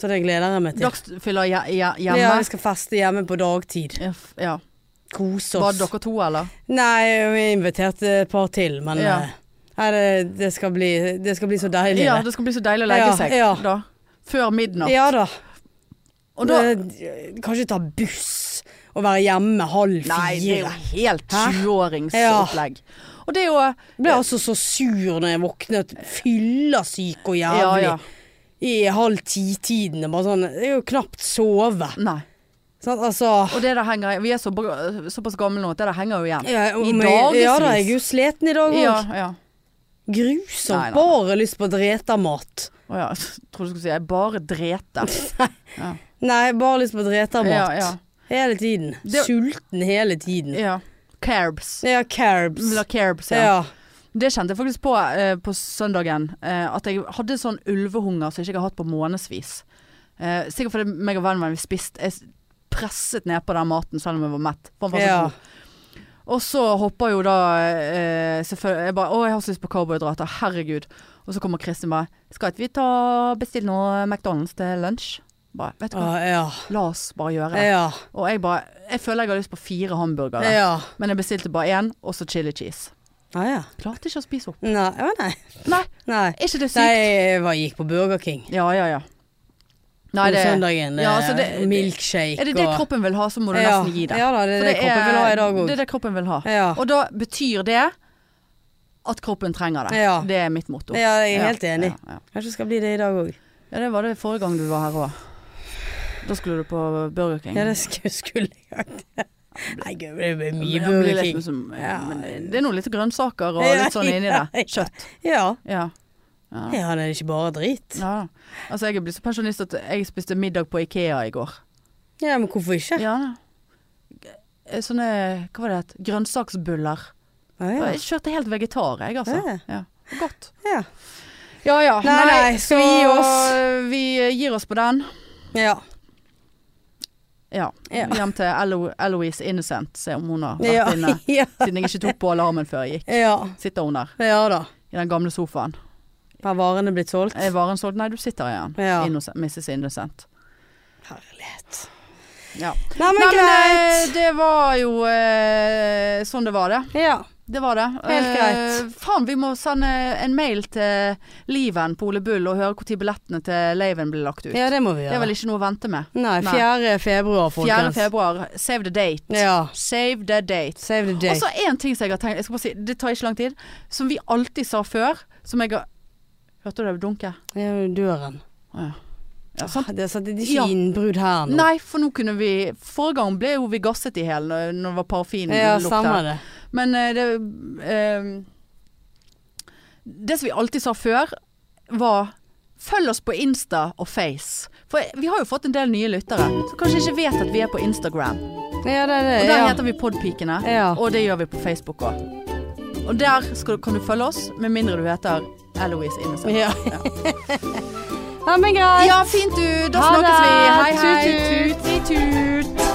Speaker 1: Så det gleder jeg meg til.
Speaker 2: Dagsfyller hje- hje-
Speaker 1: Ja, vi
Speaker 2: hjemme?
Speaker 1: skal feste hjemme på dagtid.
Speaker 2: Ja. f- ja.
Speaker 1: Kose
Speaker 2: Var det
Speaker 1: oss.
Speaker 2: dere to, eller?
Speaker 1: Nei, vi inviterte et par til, men
Speaker 2: Ja.
Speaker 1: eh, nei, det, det, skal bli, det skal bli så deilig.
Speaker 2: Ja,
Speaker 1: det.
Speaker 2: det skal bli så deilig å legge
Speaker 1: Ja,
Speaker 2: seg
Speaker 1: ja.
Speaker 2: da. Før midnatt.
Speaker 1: ja da.
Speaker 2: Og da
Speaker 1: Det- kanskje ta buss og være hjemme halv
Speaker 2: Nei, det er jo
Speaker 1: fire.
Speaker 2: helt
Speaker 1: Hæ?
Speaker 2: 20-åringsopplegg. Og det er jo
Speaker 1: Jeg ble altså så sur når jeg våknet fyllesyk og jævlig
Speaker 2: Ja, ja.
Speaker 1: i halv ti-tiden. Det er Bare sånn Jeg er jo knapt sove.
Speaker 2: Nei.
Speaker 1: Sant, altså
Speaker 2: Og det der henger Vi er så, bra- såpass gamle nå at det der henger jo igjen.
Speaker 1: ja, om
Speaker 2: I
Speaker 1: jeg-
Speaker 2: dagevis.
Speaker 1: Ja da, jeg er jo sliten i dag òg.
Speaker 2: Ja, ja. Nei,
Speaker 1: Grusomt.
Speaker 2: nei.
Speaker 1: Bare lyst på dretermat.
Speaker 2: Å ja. Jeg trodde du skulle si jeg bare drete.
Speaker 1: Nei, bare lyst på dretermat.
Speaker 2: Ja, ja.
Speaker 1: Hele tiden.
Speaker 2: Det-
Speaker 1: Sulten hele tiden.
Speaker 2: ja. Carbs.
Speaker 1: Ja, carbs.
Speaker 2: Vil ha carbs, ja.
Speaker 1: Ja.
Speaker 2: Det kjente jeg faktisk på eh, på søndagen. Eh, at jeg hadde sånn ulvehunger som jeg ikke har hatt på månedsvis. Eh, sikkert fordi meg og vennen min vi spiste Jeg s- presset ned på den maten selv om jeg var mett. For den var så
Speaker 1: Ja.
Speaker 2: god. Og så hopper jo da eh, selvfølgelig Jeg bare Å, jeg har så lyst på karbohydrater. Herregud. Og så kommer Kristin bare Skal ikke vi ta bestille noe McDonald's til lunsj? Bare, vet du hva.
Speaker 1: Ah, ja.
Speaker 2: La oss bare gjøre det.
Speaker 1: Ja.
Speaker 2: Og jeg bare Jeg føler jeg har lyst på fire hamburgere.
Speaker 1: ja.
Speaker 2: Men jeg bestilte bare én, og så chili cheese.
Speaker 1: Ah, ja.
Speaker 2: Klarte ikke å spise opp.
Speaker 1: Nei. Ja, nei.
Speaker 2: Nei,
Speaker 1: nei.
Speaker 2: er ikke det sykt?
Speaker 1: Nei, jeg var, gikk på Burger King
Speaker 2: Ja, ja, ja. Nei,
Speaker 1: på
Speaker 2: det,
Speaker 1: søndagen.
Speaker 2: Ja,
Speaker 1: eh,
Speaker 2: altså, det-
Speaker 1: milkshake
Speaker 2: er det det
Speaker 1: og-
Speaker 2: kroppen vil ha, så må du
Speaker 1: ja.
Speaker 2: nesten gi det.
Speaker 1: Ja da, det er
Speaker 2: For
Speaker 1: det, kroppen vil ha i dag òg.
Speaker 2: Det er det kroppen vil ha.
Speaker 1: Ja.
Speaker 2: Og da betyr det at kroppen trenger det.
Speaker 1: Ja.
Speaker 2: Det er mitt motto.
Speaker 1: ja, jeg er helt
Speaker 2: Ja,
Speaker 1: enig.
Speaker 2: Ja, ja.
Speaker 1: Kanskje det skal bli det i dag òg.
Speaker 2: ja, det var det forrige gang du var her òg. Da skulle du på Burger King.
Speaker 1: Ja, det sk- skulle jeg hatt. *laughs* Nei, gud, det blir
Speaker 2: Men Mm. det
Speaker 1: mye
Speaker 2: blir
Speaker 1: Burger
Speaker 2: litt
Speaker 1: King.
Speaker 2: liksom-
Speaker 1: Ja.
Speaker 2: Men det er noe litt grønnsaker og
Speaker 1: Ja,
Speaker 2: litt sånn inni
Speaker 1: ja, ja.
Speaker 2: det. Kjøtt.
Speaker 1: *laughs* Ja.
Speaker 2: Ja. Ja.
Speaker 1: ja, det er ikke bare drit.
Speaker 2: ja. Altså, jeg er blitt så pensjonist at jeg spiste middag på Ikea i går.
Speaker 1: Ja, men hvorfor ikke?
Speaker 2: Ja. Eh, Sånne, hva var det het, grønnsaksbuller.
Speaker 1: Ah, ja.
Speaker 2: Jeg kjørte helt vegetar, jeg, altså. Ja. Godt.
Speaker 1: ja.
Speaker 2: Ja ja.
Speaker 1: Nei, nei, skal vi gi oss?
Speaker 2: Vi gir oss på den.
Speaker 1: ja.
Speaker 2: Ja.
Speaker 1: Ja.
Speaker 2: Hjem til Elo Eloise Innocent, se om hun har vært
Speaker 1: Ja.
Speaker 2: inne.
Speaker 1: *laughs* ja.
Speaker 2: Siden jeg ikke tok på alarmen før jeg gikk.
Speaker 1: Ja.
Speaker 2: Sitter hun der,
Speaker 1: Ja da.
Speaker 2: i den gamle sofaen.
Speaker 1: Har varene blitt solgt?
Speaker 2: Er varen solgt? Nei, du sitter igjen.
Speaker 1: Ja.
Speaker 2: Innocent, Mrs. Innocent.
Speaker 1: Herlighet.
Speaker 2: Ja.
Speaker 1: Nei, men
Speaker 2: Nei, men eh,
Speaker 1: greit.
Speaker 2: det var jo eh, sånn det var, det.
Speaker 1: Ja.
Speaker 2: Det var det.
Speaker 1: Helt greit.
Speaker 2: Eh, faen, vi må sende en mail til Liven på Ole Bull og høre når billettene til Laven blir lagt ut.
Speaker 1: ja, det må vi
Speaker 2: Det
Speaker 1: gjøre.
Speaker 2: er vel ikke noe å vente med.
Speaker 1: Nei, 4. februar,
Speaker 2: 4.
Speaker 1: folkens.
Speaker 2: februar, save the date.
Speaker 1: Ja.
Speaker 2: Save the date.
Speaker 1: Save the
Speaker 2: Og
Speaker 1: date.
Speaker 2: så en ting som jeg har tenkt, jeg skal bare si, det tar ikke lang tid, som vi alltid sa før, som jeg har Hørte du det dunke?
Speaker 1: Det er jo døren.
Speaker 2: Å ja. Ja, sant?
Speaker 1: Det er, sant, det er
Speaker 2: Ja.
Speaker 1: ikke innbrudd her nå.
Speaker 2: Nei, for nå kunne vi Forrige gang ble jo vi gasset i hjel når når det
Speaker 1: ja,
Speaker 2: var parafinlukt
Speaker 1: stemmer
Speaker 2: der.
Speaker 1: det.
Speaker 2: Men eh, det eh, Det som vi alltid sa før, var Følg oss på Insta og Face. For vi har jo fått en del nye lyttere som kanskje ikke vet at vi er på Instagram.
Speaker 1: Ja, det er det.
Speaker 2: Og der
Speaker 1: ja.
Speaker 2: heter vi Podpikene,
Speaker 1: Ja.
Speaker 2: og det gjør vi på Facebook òg. Og der skal, kan du følge oss, med mindre du heter Eloise Innocent.
Speaker 1: Ja. Nei, men greit.
Speaker 2: Ja, fint du. Da
Speaker 1: Ha
Speaker 2: snakkes vi.
Speaker 1: det.
Speaker 2: Hei, hei.
Speaker 1: Tut,
Speaker 2: tut. tut.